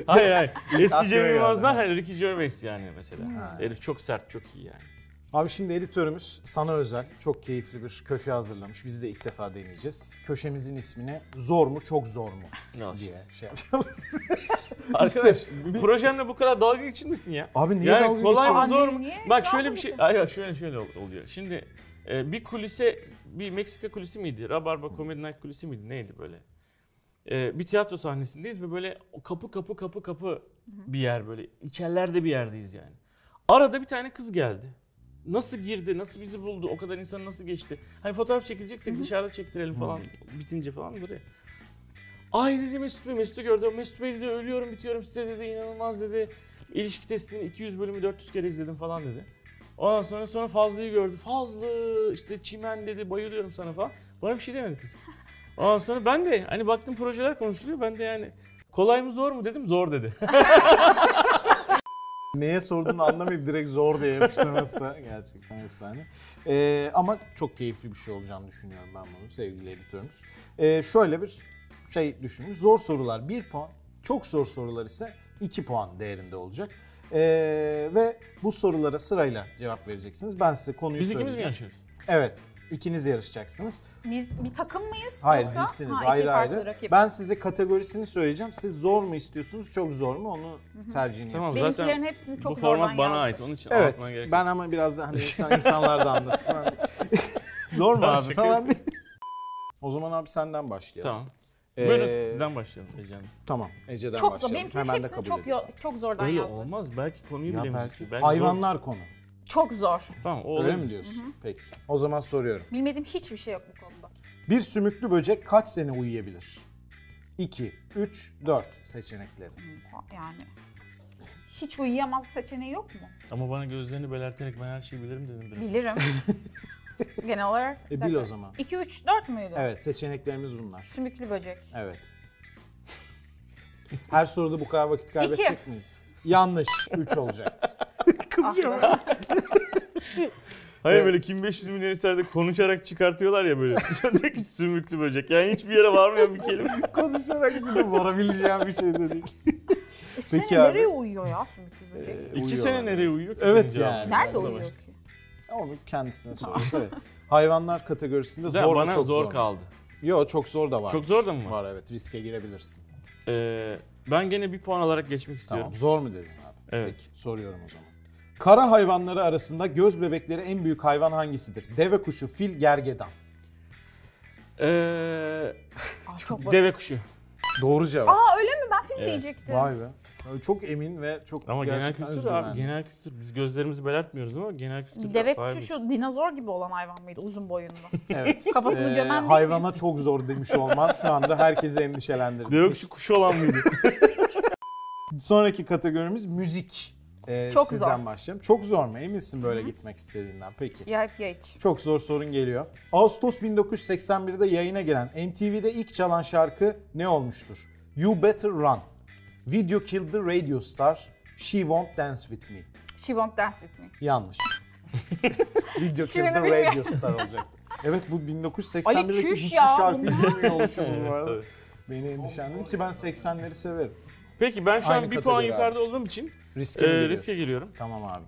Speaker 2: Hayır hayır. Eski
Speaker 1: Aklına
Speaker 2: Cem
Speaker 1: geldi.
Speaker 2: Yılmazlar hani Ricky Gervais yani mesela. Herif çok sert, çok iyi yani.
Speaker 1: Abi şimdi editörümüz sana özel çok keyifli bir köşe hazırlamış. Biz de ilk defa deneyeceğiz. Köşemizin ismini zor mu çok zor mu
Speaker 2: Ne
Speaker 1: diye şey yapacağız.
Speaker 2: Arkadaş projemle bu kadar dalga geçir misin ya?
Speaker 1: Abi niye
Speaker 2: yani
Speaker 1: dalga
Speaker 2: kolay mı
Speaker 1: geçiyorsun?
Speaker 2: zor mu?
Speaker 3: Niye
Speaker 2: Bak
Speaker 3: dalga
Speaker 2: şöyle bir şey,
Speaker 3: geçiyorsun?
Speaker 2: ay bak şöyle şöyle ol- oluyor. Şimdi e, bir kulise, bir Meksika kulisi miydi? Rabarba Comedy Night kulisi miydi? Neydi böyle? E, bir tiyatro sahnesindeyiz ve böyle o kapı kapı kapı kapı bir yer böyle. İçerlerde bir yerdeyiz yani. Arada bir tane kız geldi. Nasıl girdi, nasıl bizi buldu, o kadar insan nasıl geçti? Hani fotoğraf çekilecekse dışarıda çektirelim falan bitince falan buraya. Ay dedi Mesut Bey, Mesut'u gördüm. Mesut Bey dedi ölüyorum bitiyorum size dedi inanılmaz dedi. İlişki testini 200 bölümü 400 kere izledim falan dedi. Ondan sonra sonra Fazlı'yı gördü. Fazlı işte çimen dedi bayılıyorum sana falan. Bana bir şey demedi kız. Ondan sonra ben de hani baktım projeler konuşuluyor. Ben de yani kolay mı zor mu dedim zor dedi.
Speaker 1: Neye sorduğunu anlamayıp direkt zor diye yapıştırması da gerçekten efsane. Ee, ama çok keyifli bir şey olacağını düşünüyorum ben bunu sevgili editörümüz. Ee, şöyle bir şey düşünün. Zor sorular 1 puan, çok zor sorular ise 2 puan değerinde olacak. Ee, ve bu sorulara sırayla cevap vereceksiniz. Ben size konuyu
Speaker 2: Biz ikimiz mi
Speaker 1: söyleyeceğim.
Speaker 2: yaşıyoruz?
Speaker 1: Evet. ikiniz yarışacaksınız.
Speaker 3: Biz bir takım mıyız?
Speaker 1: Hayır
Speaker 3: yoksa-
Speaker 1: değilsiniz.
Speaker 3: Ha, iki
Speaker 1: ayrı
Speaker 3: farklı
Speaker 1: ayrı.
Speaker 3: rakip.
Speaker 1: Ben size kategorisini söyleyeceğim. Siz zor mu istiyorsunuz, çok zor mu onu tercihini
Speaker 2: Tamam
Speaker 1: yapacaksınız.
Speaker 2: zaten
Speaker 3: Benimkilerin hepsini çok
Speaker 2: bu format
Speaker 3: zordan
Speaker 2: bana
Speaker 3: yazdım.
Speaker 2: ait. Onun için
Speaker 1: Evet.
Speaker 2: anlatmana gerek yok.
Speaker 1: Ben ama biraz da hani insan, insanlar da anlasın falan. Zor mu abi
Speaker 2: şaka
Speaker 1: falan değil. O zaman abi senden başlayalım.
Speaker 2: Tamam.
Speaker 1: Ee,
Speaker 2: Buyurun sizden başlayalım Ece Hanım.
Speaker 1: Tamam. Ece'den
Speaker 3: Çok zor.
Speaker 1: başlayalım.
Speaker 3: Benimkilerin
Speaker 1: Hemen de
Speaker 3: hepsini
Speaker 1: kabul
Speaker 3: çok
Speaker 1: ediyorum.
Speaker 3: yo- çok zordan
Speaker 2: Öyle
Speaker 3: yazdım.
Speaker 2: olmaz. Belki konuyu
Speaker 1: Ya
Speaker 2: bilemeyeceksin.
Speaker 1: belki
Speaker 2: Belki zor-
Speaker 1: hayvanlar konu.
Speaker 3: Çok zor.
Speaker 2: Tamam o
Speaker 1: Öyle
Speaker 2: olabilir.
Speaker 1: mi diyorsun? Peki. O zaman soruyorum.
Speaker 3: Bilmediğim hiçbir şey yok bu konuda.
Speaker 1: Bir sümüklü böcek kaç sene uyuyabilir? 2, 3, 4 seçenekleri.
Speaker 3: Yani hiç uyuyamaz seçeneği yok mu?
Speaker 2: Ama bana gözlerini belerterek ben her şeyi bilirim dedim. biraz.
Speaker 3: Bilirim. Genel olarak.
Speaker 1: E bil o zaman.
Speaker 3: 2 3 4 müydü?
Speaker 1: Evet seçeneklerimiz bunlar.
Speaker 3: Sümüklü böcek.
Speaker 1: Evet. Her soruda bu kadar vakit kaybedecek miyiz? Yanlış. 3 olacaktı.
Speaker 2: Hayır böyle kim 500 milyon eserde konuşarak çıkartıyorlar ya böyle. Dışarıdaki sümüklü böcek. Yani hiçbir yere varmıyor bir kelime.
Speaker 1: Konuşarak bir de varabileceğim bir şey dedik.
Speaker 3: 3
Speaker 1: Peki
Speaker 3: sene
Speaker 1: abi.
Speaker 3: E, nereye uyuyor ya sümüklü böcek?
Speaker 2: İki
Speaker 1: Uyuyorlar
Speaker 2: sene nereye uyuyor ki?
Speaker 1: Evet
Speaker 2: senin
Speaker 1: yani.
Speaker 2: cevabın?
Speaker 3: Nerede
Speaker 2: Onunla
Speaker 3: uyuyor
Speaker 2: başla.
Speaker 3: ki?
Speaker 1: Onu kendisine soruyor. Evet. Hayvanlar kategorisinde
Speaker 2: Zaten
Speaker 1: zor
Speaker 2: bana
Speaker 1: mu çok zor,
Speaker 2: zor,
Speaker 1: mu?
Speaker 2: kaldı.
Speaker 1: Yo çok zor da var.
Speaker 2: Çok zor da mı var?
Speaker 1: Var evet riske girebilirsin.
Speaker 2: Ee, ben gene bir puan alarak geçmek istiyorum.
Speaker 1: Tamam zor mu dedin abi?
Speaker 2: Evet.
Speaker 1: Peki soruyorum o zaman. Kara hayvanları arasında göz bebekleri en büyük hayvan hangisidir? Deve kuşu, fil, gergedan.
Speaker 2: Ee,
Speaker 3: Aa, çok basit.
Speaker 2: deve kuşu.
Speaker 1: Doğru cevap.
Speaker 3: Aa öyle mi? Ben film
Speaker 2: Evet.
Speaker 3: diyecektim.
Speaker 1: Vay be. Abi Çok emin ve çok
Speaker 2: Ama genel
Speaker 1: gerçekten
Speaker 2: kültür abi
Speaker 1: özgüvenli.
Speaker 2: genel kültür. Biz gözlerimizi belertmiyoruz ama genel kültür.
Speaker 3: Deve
Speaker 2: sahibiz.
Speaker 3: kuşu şu dinozor gibi olan hayvan mıydı uzun boyunlu?
Speaker 1: Evet. Ee,
Speaker 3: Kafasını gömen değil mi?
Speaker 1: Hayvana çok zor demiş olman şu anda herkesi endişelendirdi.
Speaker 2: Deve kuşu kuşu olan mıydı?
Speaker 1: Sonraki kategorimiz müzik. Ee,
Speaker 3: Çok
Speaker 1: sizden
Speaker 3: zor.
Speaker 1: başlayalım. Çok zor mu? Emin misin böyle gitmek istediğinden? Peki.
Speaker 3: Ya hep geç.
Speaker 1: Çok zor sorun geliyor. Ağustos 1981'de yayına gelen MTV'de ilk çalan şarkı ne olmuştur? You Better Run, Video Killed the Radio Star, She Won't Dance With Me.
Speaker 3: She won't dance with me.
Speaker 1: Yanlış. Video
Speaker 3: Şimdi
Speaker 1: Killed the
Speaker 3: bilmiyorum.
Speaker 1: Radio Star olacaktı. Evet bu 1981'deki
Speaker 3: Ali, çüş
Speaker 1: hiçbir
Speaker 3: ya,
Speaker 1: şarkıyı
Speaker 3: bunlar.
Speaker 1: bilmiyormuşum bu arada.
Speaker 2: Tabii.
Speaker 1: Beni endişelendim ki ben 80'leri severim.
Speaker 2: Peki ben şu
Speaker 1: Aynı
Speaker 2: an bir puan
Speaker 1: kategori
Speaker 2: yukarıda olduğum için
Speaker 1: Riske,
Speaker 2: e,
Speaker 1: mi giriyorsun?
Speaker 2: riske giriyorum.
Speaker 1: Tamam abi.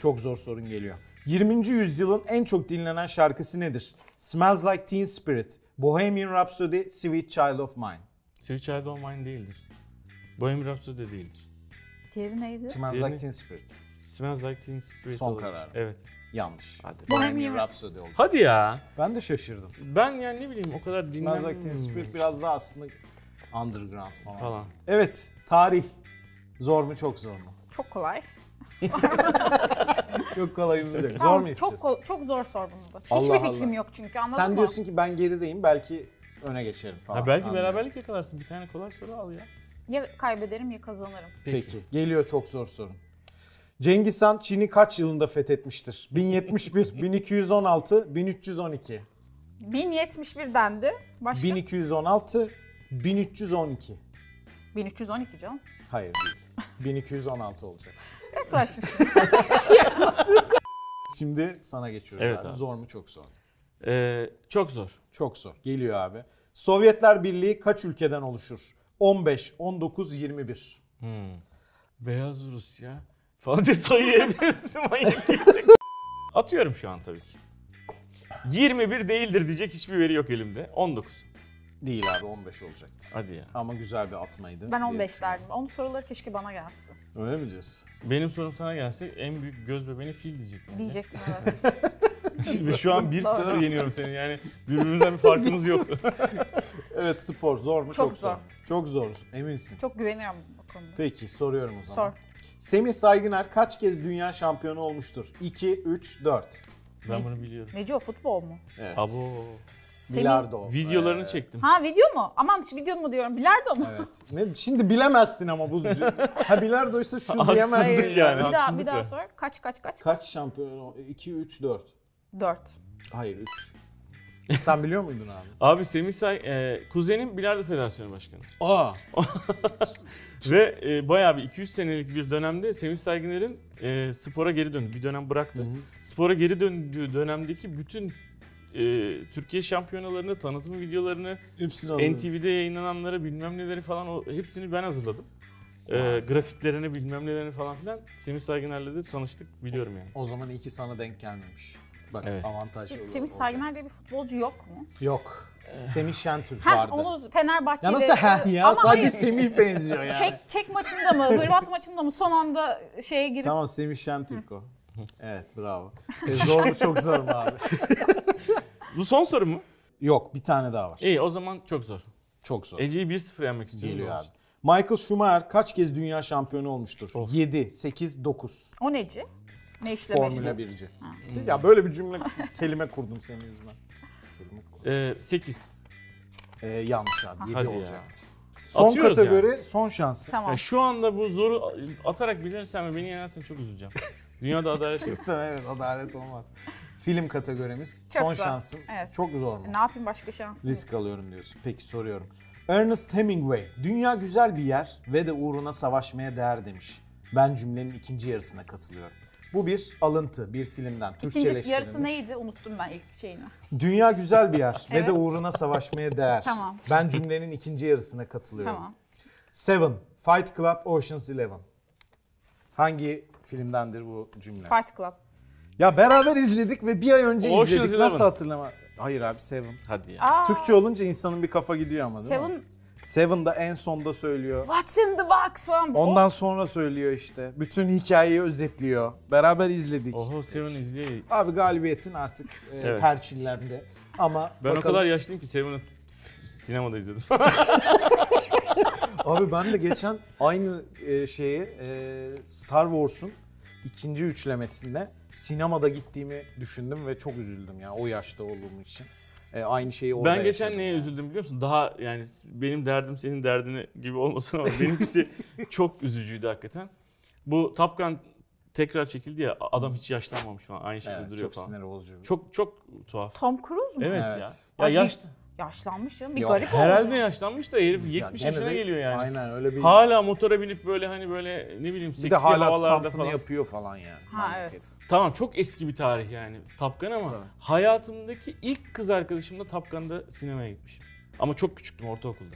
Speaker 1: Çok zor sorun geliyor. 20. yüzyılın en çok dinlenen şarkısı nedir? Smells Like Teen Spirit, Bohemian Rhapsody, Sweet Child of Mine.
Speaker 2: Sweet Child O' Mine değildir. Bohemian Rhapsody de değildir.
Speaker 3: Diğeri neydi?
Speaker 1: Smells
Speaker 2: Diğerini-
Speaker 1: Like Teen Spirit.
Speaker 2: Smells Like Teen Spirit
Speaker 1: Son
Speaker 2: olabilir.
Speaker 1: karar.
Speaker 2: Evet.
Speaker 1: Yanlış.
Speaker 2: Hadi.
Speaker 1: Bohemian Rhapsody oldu.
Speaker 2: Hadi ya.
Speaker 1: Ben de şaşırdım.
Speaker 2: Ben yani ne bileyim o kadar dinlenmem.
Speaker 1: Smells Like Teen Spirit biraz daha aslında underground falan.
Speaker 2: Falan.
Speaker 1: Evet, tarih. Zor mu çok zor mu?
Speaker 3: Çok kolay.
Speaker 1: Çok kolay şey. olacak. Zor
Speaker 3: Tamam,
Speaker 1: mu
Speaker 3: çok,
Speaker 1: istiyorsun?
Speaker 3: ko- çok zor sordum bunu. Hiçbir
Speaker 1: Allah
Speaker 3: fikrim
Speaker 1: Allah.
Speaker 3: yok çünkü anladın
Speaker 1: Sen
Speaker 3: mı?
Speaker 1: diyorsun ki ben gerideyim belki öne geçerim falan.
Speaker 2: Ha, belki
Speaker 1: Anlıyorum.
Speaker 2: beraberlik yakalarsın. Bir tane kolay soru al ya.
Speaker 3: Ya kaybederim ya kazanırım.
Speaker 1: Peki. Geliyor çok zor sorun. Cengiz Han Çin'i kaç yılında fethetmiştir? 1071, 1216, 1312.
Speaker 3: 1071 dendi. Başka?
Speaker 1: 1216, 1312.
Speaker 3: 1312 canım.
Speaker 1: Hayır değil. 1216 olacak.
Speaker 3: Yaklaşmış.
Speaker 1: Şimdi sana geçiyoruz
Speaker 2: Evet
Speaker 1: abi.
Speaker 2: abi.
Speaker 1: Zor mu çok zor.
Speaker 2: Ee, çok zor.
Speaker 1: Çok zor. Geliyor abi. Sovyetler Birliği kaç ülkeden oluşur? 15, 19, 21.
Speaker 2: Hmm. Beyaz Rusya falan diye sayıyabilirsin manyak. Atıyorum şu an tabii ki. 21 değildir diyecek hiçbir veri yok elimde. 19.
Speaker 1: Değil abi 15 olacaktı.
Speaker 2: Hadi ya.
Speaker 1: Ama güzel bir atmaydı.
Speaker 3: Ben
Speaker 1: diye
Speaker 3: 15
Speaker 1: düşünüyorum.
Speaker 3: derdim. Onun soruları keşke bana gelsin.
Speaker 1: Öyle mi diyorsun?
Speaker 2: Benim sorum sana gelse en büyük göz bebeğini fil diyecek. yani.
Speaker 3: Diyecektim evet.
Speaker 2: Ve şu an 1-0 yeniyorum seni yani birbirimizden bir farkımız yok.
Speaker 1: Evet spor zor mu çok,
Speaker 3: Çok
Speaker 1: zor.
Speaker 3: zor.
Speaker 1: Çok zor. Eminsin.
Speaker 3: Çok güveniyorum bu konuda.
Speaker 1: Peki soruyorum o zaman.
Speaker 3: Sor.
Speaker 1: Semih Saygıner kaç kez dünya şampiyonu olmuştur? 2, 3, 4.
Speaker 2: ben bunu biliyorum.
Speaker 3: Neci o futbol mu?
Speaker 1: Evet.
Speaker 2: Abo.
Speaker 1: Bilardo.
Speaker 2: Videolarını
Speaker 1: Ee,
Speaker 2: çektim.
Speaker 3: Ha video mu? Aman şu video mu diyorum? Bilardo mu?
Speaker 1: Evet. Ne, şimdi bilemezsin ama bu. ha bilardoysa şu
Speaker 2: Haksızlık
Speaker 1: diyemezsin.
Speaker 2: yani.
Speaker 3: bir daha
Speaker 2: haksızlık
Speaker 3: bir daha
Speaker 2: ya.
Speaker 3: sor. Kaç kaç kaç?
Speaker 1: Kaç şampiyon? 2, 3, 4.
Speaker 3: 4.
Speaker 1: Hayır 3. Sen biliyor muydun abi?
Speaker 2: Abi Semih Say, e, kuzenim Bilardo Federasyonu Başkanı.
Speaker 1: Aa.
Speaker 2: Ve e, bayağı bir 200 senelik bir dönemde Semih Saygıner'in e, spora geri döndü. Bir dönem bıraktı. Spora geri döndüğü dönemdeki bütün e, Türkiye şampiyonalarını, tanıtım videolarını,
Speaker 1: Hepsini alalım.
Speaker 2: NTV'de yayınlananları bilmem neleri falan o hepsini ben hazırladım. E, grafiklerini bilmem nelerini falan filan Semih Saygıner'le de tanıştık biliyorum yani.
Speaker 1: O zaman iki sana denk gelmemiş. Bak
Speaker 2: Evet.
Speaker 1: avantaj
Speaker 3: Hiç
Speaker 1: olur-
Speaker 3: Semih
Speaker 1: olacak.
Speaker 3: Saygıner diye bir futbolcu yok mu?
Speaker 1: Yok.
Speaker 2: Ee.
Speaker 1: Semih Şentürk
Speaker 3: Ha
Speaker 1: vardı.
Speaker 3: onu Fenerbahçe'de.
Speaker 1: Ya nasıl ha ya?
Speaker 3: Ama
Speaker 1: Sadece
Speaker 3: hayır,
Speaker 1: Semih benziyor yani.
Speaker 3: Çek, çek maçında mı? Hırvat maçında mı? Son anda şeye girip
Speaker 1: Tamam Semih Şentürk o. Evet bravo. E, zor mu çok zor mu abi?
Speaker 2: Bu son soru mu?
Speaker 1: Yok bir tane daha var.
Speaker 2: İyi o zaman çok zor.
Speaker 1: Çok zor.
Speaker 2: Ece'yi 1-0 yenmek istiyorum.
Speaker 1: Geliyor
Speaker 2: bu
Speaker 1: abi.
Speaker 2: maçta.
Speaker 1: Michael Schumacher kaç kez dünya şampiyonu olmuştur?
Speaker 2: Of.
Speaker 1: 7, 8, 9.
Speaker 3: o neci? Ne işle
Speaker 1: Formula
Speaker 3: meşgul?
Speaker 1: 1'ci. Ya böyle bir cümle, kelime kurdum senin yüzünden. Kelime kurdum.
Speaker 2: E, 8.
Speaker 1: Ee, yanlış abi 7
Speaker 2: Hadi ya.
Speaker 1: olacaktı. Son
Speaker 2: Atıyoruz
Speaker 1: kategori son şansı.
Speaker 3: Tamam.
Speaker 2: Ya şu anda bu zoru atarak bilirsen ve beni yenersen çok üzüleceğim. Dünyada adalet yok.
Speaker 1: Tamam, evet adalet olmaz. Film kategorimiz
Speaker 3: Çok
Speaker 1: son
Speaker 3: zor.
Speaker 1: şansın.
Speaker 3: Evet.
Speaker 1: Çok zor mu?
Speaker 3: E, Ne yapayım başka şansım yok.
Speaker 1: Risk alıyorum diyorsun. Peki soruyorum. Ernest Hemingway, dünya güzel bir yer ve de uğruna savaşmaya değer demiş. Ben cümlenin ikinci yarısına katılıyorum. Bu bir alıntı, bir filmden Türkçeleştirilmiş.
Speaker 3: İkinci yarısı neydi? Unuttum ben ilk şeyini.
Speaker 1: Dünya güzel bir yer ve
Speaker 3: Evet.
Speaker 1: de uğruna savaşmaya değer.
Speaker 3: Tamam.
Speaker 1: Ben cümlenin ikinci yarısına katılıyorum.
Speaker 3: Tamam.
Speaker 1: Seven, Fight Club, Ocean's Eleven. Hangi filmdendir bu cümle?
Speaker 3: Fight Club.
Speaker 1: Ya beraber izledik ve bir ay önce
Speaker 2: Ocean's
Speaker 1: izledik. Nasıl
Speaker 2: Eleven.
Speaker 1: hatırlama? Hayır abi Seven.
Speaker 2: Hadi ya.
Speaker 3: Aa,
Speaker 1: Türkçe olunca insanın bir kafa gidiyor ama değil mi?
Speaker 3: Seven,
Speaker 1: Seven de en sonda söylüyor.
Speaker 3: What's in the box falan.
Speaker 1: Ondan sonra söylüyor işte. Bütün hikayeyi özetliyor. Beraber izledik.
Speaker 2: Oho Seven izleye.
Speaker 1: Abi galibiyetin artık e,
Speaker 2: Evet.
Speaker 1: perçinlendi. Ama
Speaker 2: Ben o
Speaker 1: bakalım-
Speaker 2: kadar yaşlıyım ki Seven'ı sinemada izledim.
Speaker 1: Abi ben de geçen aynı e, şeyi e, Star Wars'un ikinci üçlemesinde sinemada gittiğimi düşündüm ve çok üzüldüm ya o yaşta olduğum için. e, aynı şeyi orada
Speaker 2: Ben geçen
Speaker 1: yaşadım.
Speaker 2: neye üzüldüm biliyor musun? Daha yani benim derdim senin derdini gibi olmasın ama benimkisi çok üzücüydü hakikaten. Bu Top Gun tekrar çekildi ya adam hiç yaşlanmamış falan aynı şekilde
Speaker 1: Evet,
Speaker 2: duruyor
Speaker 1: çok
Speaker 2: falan.
Speaker 1: sinir bozucu. bir-
Speaker 2: Çok çok tuhaf.
Speaker 3: Tom Cruise mu?
Speaker 2: Evet,
Speaker 1: Evet.
Speaker 2: ya. Ya
Speaker 3: Ay,
Speaker 2: yaş,
Speaker 3: Yaşlanmış canım. Bir
Speaker 1: Ya,
Speaker 3: garip oldu.
Speaker 2: herhalde yaşlanmış da herif 70
Speaker 1: gene
Speaker 2: yaşına
Speaker 1: de-
Speaker 2: geliyor yani.
Speaker 1: Aynen öyle bir...
Speaker 2: Hala motora binip böyle hani böyle ne bileyim
Speaker 1: Şey- bir
Speaker 2: seksi
Speaker 1: de hala
Speaker 2: havalarda
Speaker 1: stuntını
Speaker 2: falan.
Speaker 1: yapıyor falan yani.
Speaker 3: Ha,
Speaker 1: Manyak
Speaker 3: evet.
Speaker 1: herif.
Speaker 2: Tamam çok eski bir tarih yani Top Gun ama
Speaker 1: Tabii.
Speaker 2: hayatımdaki ilk kız arkadaşımla Top Gun'da sinemaya gitmişim. Ama çok küçüktüm ortaokulda.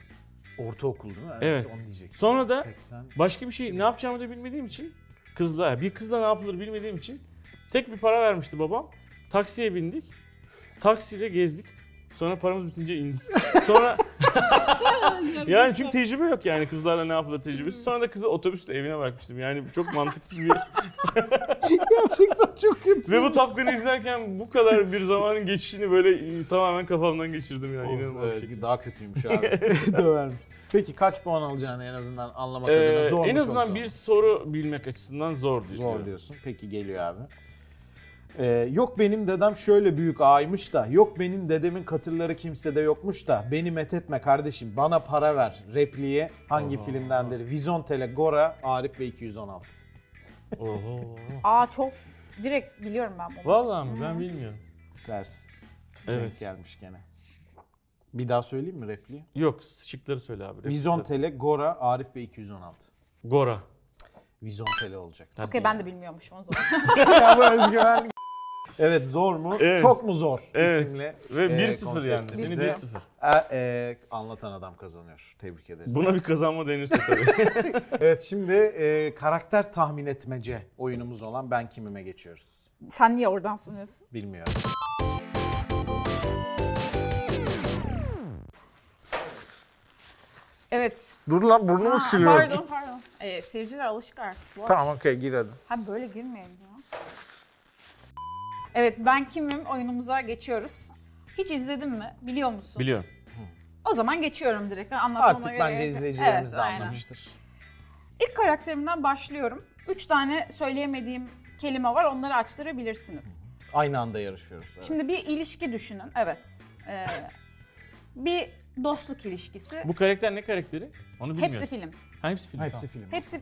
Speaker 1: Ortaokul değil mi?
Speaker 2: Evet.
Speaker 1: Onu diyecektim.
Speaker 2: Sonra da-
Speaker 1: 80.
Speaker 2: Başka bir şey ne yapacağımı da bilmediğim için kızla bir kızla ne yapılır bilmediğim için tek bir para vermişti babam. Taksiye bindik. Taksiyle gezdik. Sonra paramız bitince indik. Sonra yani çünkü tecrübe yok yani kızlarla ne yapılır tecrübesi. Sonra da kızı otobüsle evine bırakmıştım. Yani çok mantıksız bir...
Speaker 1: Gerçekten çok kötü.
Speaker 2: Ve bu Top Gun'ı izlerken bu kadar bir zamanın geçişini böyle e, tamamen kafamdan geçirdim yani
Speaker 1: Of,
Speaker 2: inanılmaz bir şey.
Speaker 1: evet,
Speaker 2: şekilde.
Speaker 1: daha kötüymüş abi. Dövermiş. Peki kaç puan alacağını en azından anlamak adına
Speaker 2: Ee,
Speaker 1: zor mu?
Speaker 2: en
Speaker 1: çok
Speaker 2: azından
Speaker 1: zor mu?
Speaker 2: bir soru bilmek açısından zor diyor.
Speaker 1: Zor diyorsun. Peki geliyor abi. Ee, yok benim dedem şöyle büyük ağaymış da, yok benim dedemin katırları kimsede yokmuş da, beni met etme kardeşim bana para ver repliğe hangi filmdendir? Vizontele, Gora, Arif ve 216.
Speaker 2: Oho.
Speaker 3: Aa çok direkt biliyorum ben bunu.
Speaker 2: Vallahi mi? Ben bilmiyorum.
Speaker 1: Ters. Denk
Speaker 2: Evet.
Speaker 1: gelmiş gene. Bir daha söyleyeyim mi repliği?
Speaker 2: Yok şıkları söyle abi.
Speaker 1: Vizontele, Gora, Arif ve 216.
Speaker 2: Gora.
Speaker 1: Vizontele olacak.
Speaker 3: Okey ben de bilmiyormuşum o zaman.
Speaker 1: ya bu özgüven. Evet zor mu?
Speaker 2: Evet.
Speaker 1: Çok mu zor
Speaker 2: Evet.
Speaker 1: isimli.
Speaker 2: Ve
Speaker 1: e,
Speaker 2: 1-0 yani.
Speaker 1: konseptimizi-
Speaker 2: Seni 1-0.
Speaker 1: E, e, anlatan adam kazanıyor. Tebrik ederiz.
Speaker 2: Buna bir kazanma denirse tabii.
Speaker 1: Evet şimdi e, karakter tahmin etmece oyunumuz olan Ben Kimime geçiyoruz.
Speaker 3: Sen niye oradan sunuyorsun?
Speaker 1: Bilmiyorum.
Speaker 3: Evet.
Speaker 1: Dur lan burnumu
Speaker 3: Ha, pardon pardon. Ee, seyirciler alışık artık. Bu
Speaker 1: Tamam okey gir hadi.
Speaker 3: Ha böyle girmeyelim ya. Evet ben kimim oyunumuza geçiyoruz. Hiç izledin mi? Biliyor musun?
Speaker 2: Biliyorum.
Speaker 3: o zaman geçiyorum direkt. Anlatmama
Speaker 1: Artık
Speaker 3: göre
Speaker 1: bence
Speaker 3: gerek yok.
Speaker 1: izleyicilerimiz
Speaker 3: Evet,
Speaker 1: de
Speaker 3: aynen.
Speaker 1: anlamıştır.
Speaker 3: İlk karakterimden başlıyorum. Üç tane söyleyemediğim kelime var. Onları açtırabilirsiniz.
Speaker 1: Aynı anda yarışıyoruz. evet.
Speaker 3: Şimdi bir ilişki düşünün. Evet. Ee, bir dostluk ilişkisi.
Speaker 2: Bu karakter ne karakteri? Onu bilmiyorum.
Speaker 3: Hepsi film.
Speaker 2: Ha, hepsi film.
Speaker 1: Hepsi
Speaker 2: tamam.
Speaker 1: film.
Speaker 3: Hepsi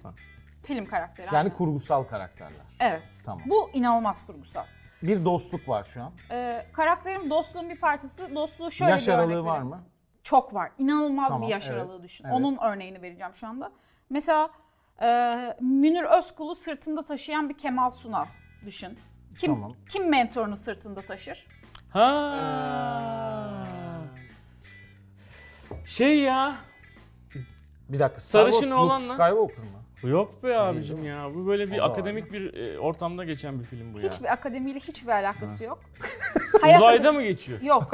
Speaker 3: film karakteri.
Speaker 1: Yani
Speaker 3: aynen.
Speaker 1: kurgusal karakterler.
Speaker 3: evet.
Speaker 1: Tamam.
Speaker 3: Bu inanılmaz kurgusal.
Speaker 1: Bir dostluk var şu an.
Speaker 3: Ee, karakterim dostluğun bir parçası. Dostluğu şöyle
Speaker 1: Yaş
Speaker 3: bir örnek
Speaker 1: aralığı var
Speaker 3: vereyim.
Speaker 1: mı?
Speaker 3: Çok var. İnanılmaz
Speaker 1: Tamam,
Speaker 3: bir yaş
Speaker 1: evet,
Speaker 3: aralığı düşün.
Speaker 1: evet.
Speaker 3: Onun örneğini vereceğim şu anda. Mesela e, Münir Özkul'u sırtında taşıyan bir Kemal Sunal düşün. Kim
Speaker 1: Tamam.
Speaker 3: kim mentorunu sırtında taşır?
Speaker 2: Ha. Şey ya.
Speaker 1: Bir dakika.
Speaker 2: Sarışın
Speaker 1: Star Wars Luke
Speaker 2: olan lan.
Speaker 1: Skywalker mı?
Speaker 2: Yok be abicim ya. Bu böyle
Speaker 1: O
Speaker 2: bir
Speaker 1: da var
Speaker 2: akademik bir e, ortamda geçen bir film bu ya.
Speaker 3: Hiçbir akademiyle hiçbir alakası yok.
Speaker 2: Uzayda mı geçiyor?
Speaker 3: Yok.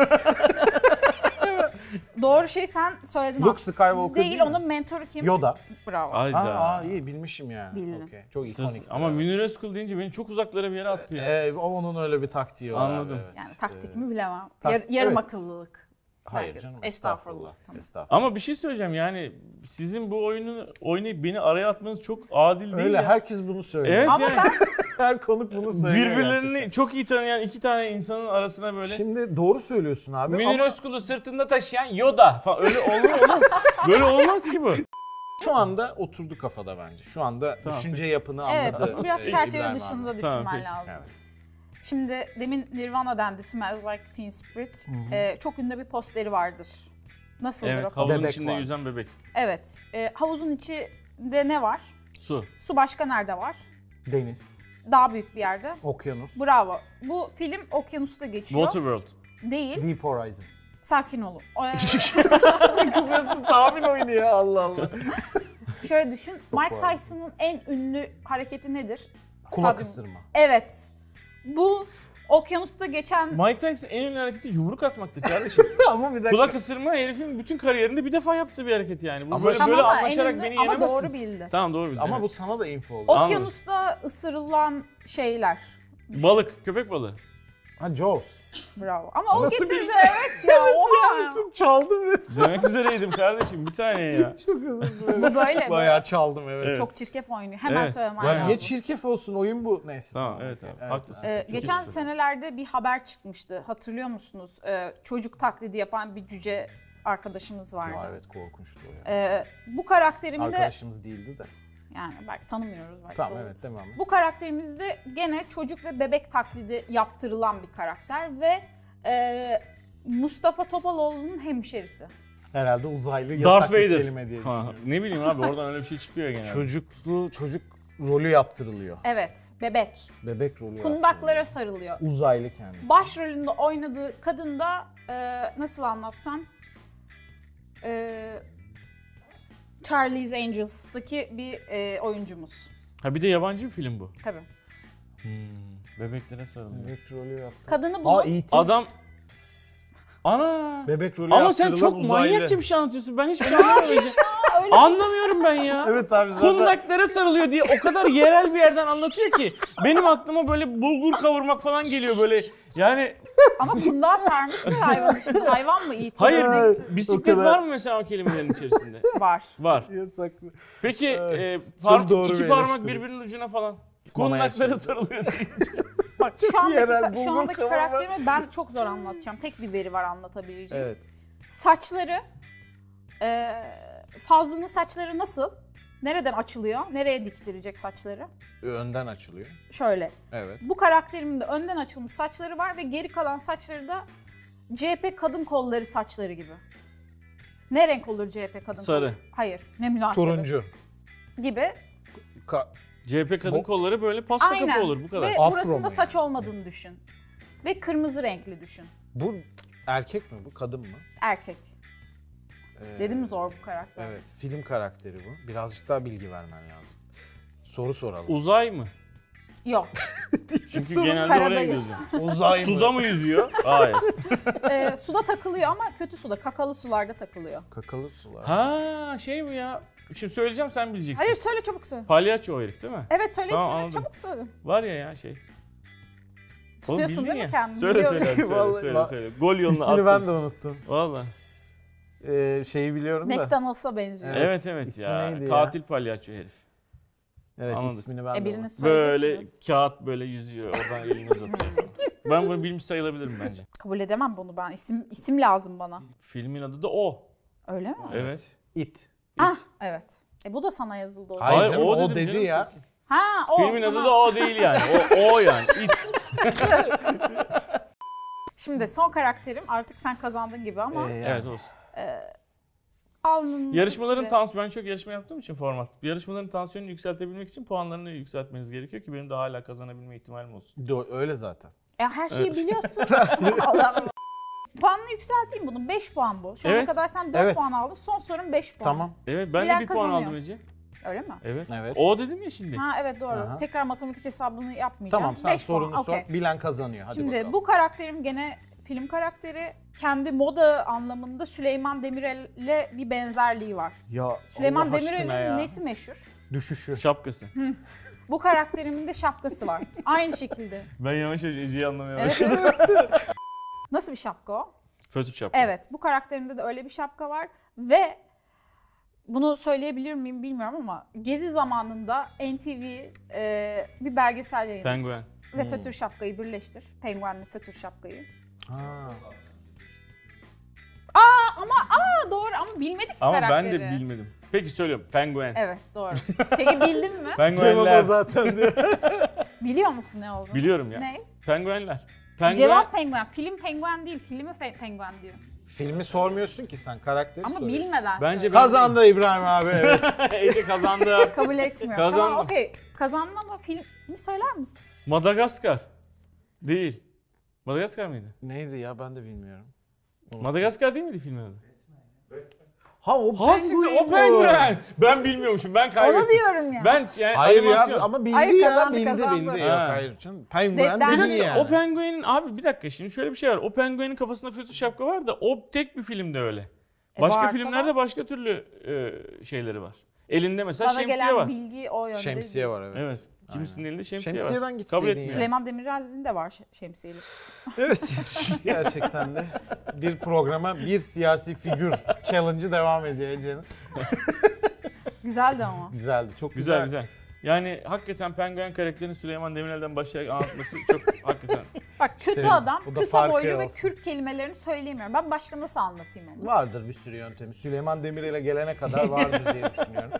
Speaker 3: Doğru şey sen söyledin.
Speaker 1: Luke
Speaker 3: aslında.
Speaker 1: Skywalker
Speaker 3: Değil,
Speaker 1: değil mi?
Speaker 3: onun mentoru kim?
Speaker 1: Yoda.
Speaker 3: Bravo.
Speaker 2: Hayda.
Speaker 1: Aa, aa, iyi bilmişim yani.
Speaker 3: Bildin.
Speaker 1: Okey. Çok
Speaker 2: Sırt-
Speaker 1: ikonik.
Speaker 2: Ama Münir Özkul deyince beni çok uzaklara bir yere attı ya.
Speaker 1: Ee, o- onun öyle bir taktiği var. abi,
Speaker 2: Anladım.
Speaker 1: evet.
Speaker 3: Yani taktik
Speaker 1: Ee,
Speaker 3: mi bilemem.
Speaker 1: tak-
Speaker 3: Yar- yarım
Speaker 1: evet.
Speaker 3: akıllılık.
Speaker 1: Hayır
Speaker 3: Belki.
Speaker 1: canım.
Speaker 3: Estağfurullah.
Speaker 1: Estağfurullah. Estağfurullah.
Speaker 2: Ama bir şey söyleyeceğim yani sizin bu oyunu oynayıp beni araya atmanız çok adil değil
Speaker 1: Öyle
Speaker 2: ya.
Speaker 1: herkes bunu söylüyor.
Speaker 2: Evet
Speaker 3: Ama
Speaker 2: yani.
Speaker 3: ben
Speaker 1: Her konuk bunu söylüyor.
Speaker 2: Birbirlerini
Speaker 1: gerçekten.
Speaker 2: çok iyi tanıyan iki tane insanın arasına böyle
Speaker 1: Şimdi doğru söylüyorsun abi
Speaker 2: Münir
Speaker 1: ama
Speaker 2: Özkul'u sırtında taşıyan Yoda falan öyle olur mu oğlum? Böyle olmaz ki bu.
Speaker 1: şu anda oturdu kafada bence. Şu anda
Speaker 2: Tamam,
Speaker 1: düşünce yapını
Speaker 3: evet,
Speaker 1: anladı.
Speaker 3: bu biraz
Speaker 1: e,
Speaker 3: çerçeve
Speaker 1: İbrahim
Speaker 3: dışında
Speaker 1: abi.
Speaker 3: düşünmen
Speaker 2: peki.
Speaker 3: lazım.
Speaker 1: Evet.
Speaker 3: Şimdi demin Nirvana dendi Smells Like Teen Spirit. Ee, çok ünlü bir posteri vardır. Nasıldır
Speaker 2: Evet
Speaker 3: o poster?
Speaker 2: havuzun
Speaker 1: Bebek
Speaker 2: içinde
Speaker 1: var.
Speaker 2: yüzen bebek.
Speaker 3: Evet. Ee, havuzun içinde ne var?
Speaker 2: Su.
Speaker 3: Su başka nerede var?
Speaker 1: Deniz,
Speaker 3: Daha büyük bir yerde.
Speaker 1: okyanus,
Speaker 3: Bravo. Bu film okyanusta geçiyor.
Speaker 2: Waterworld.
Speaker 3: Değil.
Speaker 1: Deep Horizon.
Speaker 3: Sakin olun. Ee,
Speaker 1: Kızıyorsun tahmin oyunu ya Allah Allah.
Speaker 3: şöyle düşün. Mike
Speaker 1: var.
Speaker 3: Tyson'ın en ünlü hareketi nedir?
Speaker 1: Kulak
Speaker 3: Stadyum-
Speaker 1: ısırma.
Speaker 3: Evet. Bu okyanusta geçen
Speaker 2: Mike Tyson en önemli hareketi yumruk atmaktı kardeşim.
Speaker 1: ama bir dakika.
Speaker 2: Kulak ısırma herifin bütün kariyerinde bir defa yaptığı bir hareket yani. Bu
Speaker 1: Ama
Speaker 2: böyle
Speaker 1: şimdi-
Speaker 2: böyle
Speaker 3: Tamam ama en
Speaker 2: anlaşarak
Speaker 3: ünlü-
Speaker 2: beni
Speaker 3: ama
Speaker 2: yenemezsiniz.
Speaker 3: doğru bildi.
Speaker 2: Tamam doğru bildi.
Speaker 1: Ama
Speaker 2: evet.
Speaker 1: bu sana da info oldu.
Speaker 2: Anladım.
Speaker 3: Okyanusta ısırılan şeyler.
Speaker 2: Balık, köpek balığı.
Speaker 1: Ha Jaws.
Speaker 3: Bravo. Ama o
Speaker 1: Nasıl
Speaker 3: getirdi
Speaker 1: bildin?
Speaker 3: evet ya. oha.
Speaker 1: çaldım resmen.
Speaker 2: Demek üzereydim kardeşim bir saniye ya.
Speaker 1: Çok özür dilerim.
Speaker 3: Bu böyle. böyle.
Speaker 1: Bayağı çaldım evet.
Speaker 2: Evet.
Speaker 3: Çok çirkef oynuyor. Hemen
Speaker 2: Evet,
Speaker 3: söylemem
Speaker 2: bayağı.
Speaker 3: lazım.
Speaker 1: Niye çirkef olsun oyun bu? Neyse.
Speaker 2: Tamam evet abi haklısın.
Speaker 3: Ee,
Speaker 2: Çok
Speaker 3: geçen
Speaker 2: üzüldüm.
Speaker 3: senelerde bir haber çıkmıştı. Hatırlıyor musunuz? Ee, çocuk taklidi yapan bir cüce arkadaşımız vardı.
Speaker 1: Aa, evet korkunmuştu o ya.
Speaker 3: Ee, bu karakterimde
Speaker 1: Arkadaşımız değildi de.
Speaker 3: yani belki tanımıyoruz belki.
Speaker 1: Tamam
Speaker 3: doğru.
Speaker 1: evet devam. et.
Speaker 3: Bu karakterimizde gene çocuk ve bebek taklidi yaptırılan bir karakter ve e, Mustafa Topaloğlu'nun hemşerisi.
Speaker 1: Herhalde uzaylı yasak
Speaker 2: Darth
Speaker 1: bir
Speaker 2: Vader.
Speaker 1: kelime diye
Speaker 2: Ha,
Speaker 1: düşünüyorum.
Speaker 2: ne bileyim abi oradan öyle bir şey çıkıyor genelde.
Speaker 1: Çocuklu çocuk rolü yaptırılıyor.
Speaker 3: Evet, bebek.
Speaker 1: Bebek rolü
Speaker 3: Kundaklara
Speaker 1: yaptırılıyor.
Speaker 3: sarılıyor.
Speaker 1: Uzaylı kendisi.
Speaker 3: Başrolünde oynadığı kadın da e, nasıl anlatsam e, Charlie's Angels'daki bir e, oyuncumuz.
Speaker 2: Ha bir de yabancı bir film bu.
Speaker 3: Tabii.
Speaker 1: Hmm,
Speaker 2: Bebeklere sarılıyor.
Speaker 1: Bebek rolü yaptırılıyor.
Speaker 3: Kadını bunu
Speaker 1: Aa E.T.
Speaker 2: Adam... Ana!
Speaker 1: Bebek rolü
Speaker 2: Ama sen
Speaker 1: yaptırılan
Speaker 2: çok
Speaker 1: uzaylı.
Speaker 2: manyakça bir şey anlatıyorsun. Ben hiçbir şey anlamıyorum. Anlamıyorum ben ya.
Speaker 1: Evet abi zaten.
Speaker 2: Kundaklara sarılıyor diye o kadar yerel bir yerden anlatıyor ki. Benim aklıma böyle bulgur kavurmak falan geliyor böyle. Yani
Speaker 3: ama kundağa sarmışlar hayvanı. Şimdi hayvan mı iyi
Speaker 2: hayır
Speaker 1: Evet, o
Speaker 2: bisiklet
Speaker 1: kadar.
Speaker 2: var mı mesela o kelimelerin içerisinde?
Speaker 3: var.
Speaker 2: Var.
Speaker 1: Yasaklı.
Speaker 2: Peki
Speaker 1: Evet,
Speaker 2: e,
Speaker 1: çok
Speaker 2: par-
Speaker 1: doğru bir
Speaker 2: iki parmak
Speaker 1: eleştiri.
Speaker 2: birbirinin ucuna falan.
Speaker 1: Bana
Speaker 2: Kundaklara
Speaker 1: yaşadı.
Speaker 2: sarılıyor diye.
Speaker 3: Şu andaki,
Speaker 1: yerel
Speaker 3: ka-
Speaker 1: bulgur
Speaker 3: şu andaki
Speaker 1: kavurma.
Speaker 3: karakterimi ben çok zor anlatacağım. Tek bir veri var anlatabileceğim.
Speaker 1: Evet.
Speaker 3: Saçları, e, Fazlı'nın saçları nasıl? Nereden açılıyor? Nereye diktirecek saçları?
Speaker 1: Önden açılıyor.
Speaker 3: Şöyle,
Speaker 1: Evet.
Speaker 3: bu karakterimin de önden açılmış saçları var ve geri kalan saçları da CHP kadın kolları saçları gibi. Ne renk olur CHP kadın
Speaker 2: Sarı.
Speaker 3: kolları? Hayır, ne münasebet.
Speaker 1: Turuncu.
Speaker 3: Gibi.
Speaker 1: Ka-
Speaker 2: CHP kadın
Speaker 1: Bu-
Speaker 2: kolları böyle pasta
Speaker 3: Aynen.
Speaker 2: kafa olur bu kadar.
Speaker 3: Ve
Speaker 1: Afro mu
Speaker 3: burasında
Speaker 1: yani?
Speaker 3: saç olmadığını düşün. Ve kırmızı renkli düşün.
Speaker 1: bu erkek mi bu? Kadın mı?
Speaker 3: Erkek.
Speaker 1: Ee,
Speaker 3: Dedim mi zor bu karakter?
Speaker 1: Evet. Film karakteri bu. Birazcık daha bilgi vermen lazım. Soru soralım.
Speaker 2: Uzay mı?
Speaker 3: Yok.
Speaker 2: Çünkü genelde oraya gidiyor.
Speaker 3: Karadayız.
Speaker 1: Uzay
Speaker 2: Suda mı yüzüyor? Hayır.
Speaker 3: Ee, suda takılıyor ama kötü suda, kakalı sularda takılıyor.
Speaker 1: Kakalı sular.
Speaker 2: Ha şey bu ya. Şimdi söyleyeceğim sen bileceksin.
Speaker 3: Hayır söyle çabuk söyle.
Speaker 2: Palyaço o herif değil mi?
Speaker 3: Evet söyle
Speaker 2: Tamam,
Speaker 3: ismini,
Speaker 2: anladım.
Speaker 3: çabuk söyle.
Speaker 2: Var ya ya şey.
Speaker 3: Tutuyorsun değil mi kendini?
Speaker 2: Söyle
Speaker 3: Biliyorum.
Speaker 2: söyle hadi söyle
Speaker 1: Vallahi
Speaker 2: söyle
Speaker 1: bak-
Speaker 2: söyle. Gol yoluna
Speaker 1: İsmini
Speaker 2: attın.
Speaker 1: ben de unuttum.
Speaker 2: Valla.
Speaker 1: Ee, şeyi biliyorum da.
Speaker 3: McDonald's'a benziyor.
Speaker 1: Evet,
Speaker 2: Evet evet
Speaker 1: ismi
Speaker 2: ya.
Speaker 1: neydi ya?
Speaker 2: Katil palyaço herif.
Speaker 1: Evet
Speaker 2: Anladım.
Speaker 1: ismini ben
Speaker 3: E
Speaker 1: de
Speaker 3: birini
Speaker 1: unuttum.
Speaker 2: Böyle
Speaker 3: söyleyeceksiniz.
Speaker 2: kağıt böyle yüzüyor. Oradan elini uzatıyor. ben bunu bilmiş sayılabilirim bence.
Speaker 3: Kabul edemem bunu ben. İsim isim lazım bana.
Speaker 2: Filmin adı da o.
Speaker 3: Öyle mi?
Speaker 2: Evet.
Speaker 1: It.
Speaker 3: Ah evet. E bu da sana yazıldı o zaman.
Speaker 1: Hayır,
Speaker 2: Hayır,
Speaker 1: canım,
Speaker 2: o
Speaker 1: o,
Speaker 2: dedim
Speaker 1: dedi
Speaker 2: canım.
Speaker 1: ya.
Speaker 3: Ha o.
Speaker 2: Filmin adı
Speaker 3: tamam.
Speaker 2: da o değil yani. O, o yani. İt.
Speaker 3: Şimdi son karakterim artık sen kazandın gibi ama. e,
Speaker 1: Ee, yani.
Speaker 2: Evet olsun.
Speaker 3: alnının
Speaker 2: Yarışmaların
Speaker 3: üstü-
Speaker 2: tans ben çok yarışma yaptığım için format. Yarışmaların tansiyonunu yükseltebilmek için puanlarını yükseltmeniz gerekiyor ki benim de hala kazanabilme ihtimalim olsun.
Speaker 1: Do- öyle zaten.
Speaker 3: E, her şeyi biliyorsun. Allah'ım. Puanını yükselteyim bunun. 5 puan bu. Şu ana
Speaker 2: Evet.
Speaker 3: kadar sen 4
Speaker 1: Evet.
Speaker 3: puan aldın. Son sorun 5 puan.
Speaker 1: Tamam.
Speaker 2: Evet ben
Speaker 3: Bilen
Speaker 2: de bir puan
Speaker 3: kazanıyor.
Speaker 2: aldım Ece.
Speaker 3: Öyle mi?
Speaker 2: Evet.
Speaker 1: Evet.
Speaker 2: O dedim ya şimdi.
Speaker 3: Ha evet doğru.
Speaker 1: Aha.
Speaker 3: Tekrar matematik hesabını yapmayacağım.
Speaker 1: Tamam sen
Speaker 3: Beş puan,
Speaker 1: sorunu sor.
Speaker 3: okey.
Speaker 1: Bilen kazanıyor. Hadi
Speaker 3: Şimdi
Speaker 1: bakalım.
Speaker 3: bu karakterim gene film karakteri. Kendi moda anlamında Süleyman Demirel'le bir benzerliği var.
Speaker 1: ya,
Speaker 3: Süleyman
Speaker 1: Allah aşkına
Speaker 3: Demirel'in
Speaker 1: ya.
Speaker 3: nesi meşhur?
Speaker 1: Düşüşü.
Speaker 2: Şapkası.
Speaker 3: Bu karakterimin de şapkası var. Aynı şekilde.
Speaker 2: Ben yavaş yavaş Ece'yi anlamaya
Speaker 3: Evet.
Speaker 2: başladım.
Speaker 3: Nasıl bir şapka o?
Speaker 2: Fötr şapka.
Speaker 3: Evet, bu karakterimde de öyle bir şapka var ve bunu söyleyebilir miyim bilmiyorum ama Gezi zamanında NTV e, bir belgesel yayınladı
Speaker 2: Penguen.
Speaker 3: ve fötür şapkayı birleştir. Penguenli fötür şapkayı.
Speaker 1: Ha.
Speaker 3: Ha, doğru ama bilmedik
Speaker 2: Ama ben
Speaker 3: karakteri.
Speaker 2: de bilmedim. Peki söylüyorum. Penguen.
Speaker 3: Evet doğru. Peki bildin mi?
Speaker 1: Cevap o
Speaker 2: Penguenler.
Speaker 1: zaten diyor.
Speaker 3: Biliyor musun ne olduğunu?
Speaker 2: Biliyorum ya.
Speaker 3: Ne?
Speaker 2: Penguenler. Penguen.
Speaker 3: Cevap penguen. Film penguen değil, filmi fe- penguen diyor.
Speaker 1: Filmi sormuyorsun ki sen karakteri
Speaker 3: Ama
Speaker 1: soruyorsun.
Speaker 3: bilmeden
Speaker 2: Bence
Speaker 3: söyle.
Speaker 1: Kazandı İbrahim abi evet.
Speaker 2: Ece kazandı.
Speaker 3: Kabul etmiyorum.
Speaker 2: Kazandım.
Speaker 3: Tamam okey. Kazandın ama filmi söyler misin?
Speaker 2: Madagaskar. Değil. Madagaskar mıydı?
Speaker 1: Neydi ya ben de bilmiyorum.
Speaker 2: Madagaskar değil miydi filmin adı?
Speaker 1: Ha o
Speaker 2: Ha siktir o penguen. Ben bilmiyormuşum. Ben kaybettim.
Speaker 3: Onu diyorum ya.
Speaker 2: Ben yani
Speaker 1: Hayır
Speaker 2: animasyon.
Speaker 1: ya ama bildi
Speaker 3: Hayır,
Speaker 1: ya
Speaker 3: kazandı,
Speaker 1: bildi
Speaker 3: kazandı.
Speaker 1: bildi.
Speaker 2: Ha.
Speaker 1: Yok hayır canım. Penguen
Speaker 3: Neden?
Speaker 2: Bir
Speaker 1: dedi
Speaker 2: dakika,
Speaker 1: yani.
Speaker 2: o penguenin abi bir dakika şimdi şöyle bir şey var. O penguenin kafasında fötr şapka var da o tek bir filmde öyle.
Speaker 3: E,
Speaker 2: Başka
Speaker 3: varsa
Speaker 2: filmlerde başka türlü e, şeyleri var. Elinde mesela
Speaker 3: Bana
Speaker 2: şemsiye
Speaker 3: gelen
Speaker 2: var.
Speaker 3: bilgi o yönde.
Speaker 1: Şemsiye var evet.
Speaker 2: Evet. Kimisinin elinde şemsiye, var.
Speaker 1: Şemsiyeden
Speaker 2: Kabul
Speaker 1: gitseydin
Speaker 2: etmiyor.
Speaker 1: yani.
Speaker 3: Süleyman Demirel'in de var şe- şemsiyeli.
Speaker 1: Evet. Gerçekten de bir programa bir siyasi figür challenge'ı devam ediyor Ece'nin.
Speaker 3: Güzeldi ama.
Speaker 1: Güzeldi. Çok güzel.
Speaker 2: Güzel güzel. Yani hakikaten penguen karakterini Süleyman Demirel'den başlayarak anlatması çok hakikaten
Speaker 3: Bak kötü
Speaker 1: İşte
Speaker 3: adam,
Speaker 1: bu da
Speaker 3: kısa
Speaker 1: farkı
Speaker 3: boylu ve
Speaker 1: olsun.
Speaker 3: Kürt kelimelerini söyleyemiyorum. Ben başka nasıl anlatayım onu?
Speaker 1: Vardır bir sürü yöntemi. Süleyman Demirel'e gelene kadar vardır diye düşünüyorum.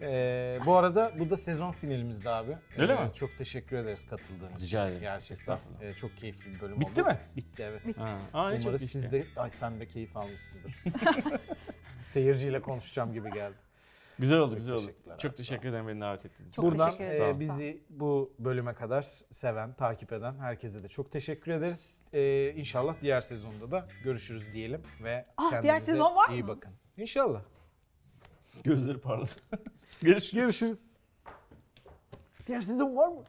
Speaker 1: Ee, bu arada bu da sezon finalimizdi abi.
Speaker 2: Öyle
Speaker 1: Ee,
Speaker 2: mi?
Speaker 1: Çok teşekkür ederiz katıldığın için.
Speaker 2: Rica ederim.
Speaker 1: Gerçekten.
Speaker 2: Estağfurullah.
Speaker 1: Ee, çok keyifli bir bölüm
Speaker 2: Bitti
Speaker 1: oldu.
Speaker 2: mi?
Speaker 1: Bitti evet.
Speaker 2: Ha. Aa, ne çok
Speaker 1: Umarız
Speaker 2: iyi
Speaker 1: siz
Speaker 2: işte.
Speaker 1: Hani de, ay sen de keyif almışsındır. Seyirciyle konuşacağım gibi geldi.
Speaker 2: Güzel oldu,
Speaker 1: Çok
Speaker 2: güzel oldu.
Speaker 1: teşekkürler abi,
Speaker 2: Çok
Speaker 1: sağ
Speaker 2: teşekkür ederim beni davet ettiğiniz için.
Speaker 3: Çok
Speaker 1: Buradan
Speaker 3: teşekkür
Speaker 1: e,
Speaker 3: ederiz.
Speaker 1: bizi bu bölüme kadar seven, takip eden herkese de çok teşekkür ederiz. E, inşallah diğer sezonda da görüşürüz diyelim ve
Speaker 3: Ah, diğer
Speaker 1: kendinize
Speaker 3: sezon var
Speaker 1: iyi
Speaker 3: mı?
Speaker 1: bakın. İnşallah.
Speaker 2: Gözleri parladı. Görüşürüz.
Speaker 1: Görüşürüz. Diğer sezon var mı?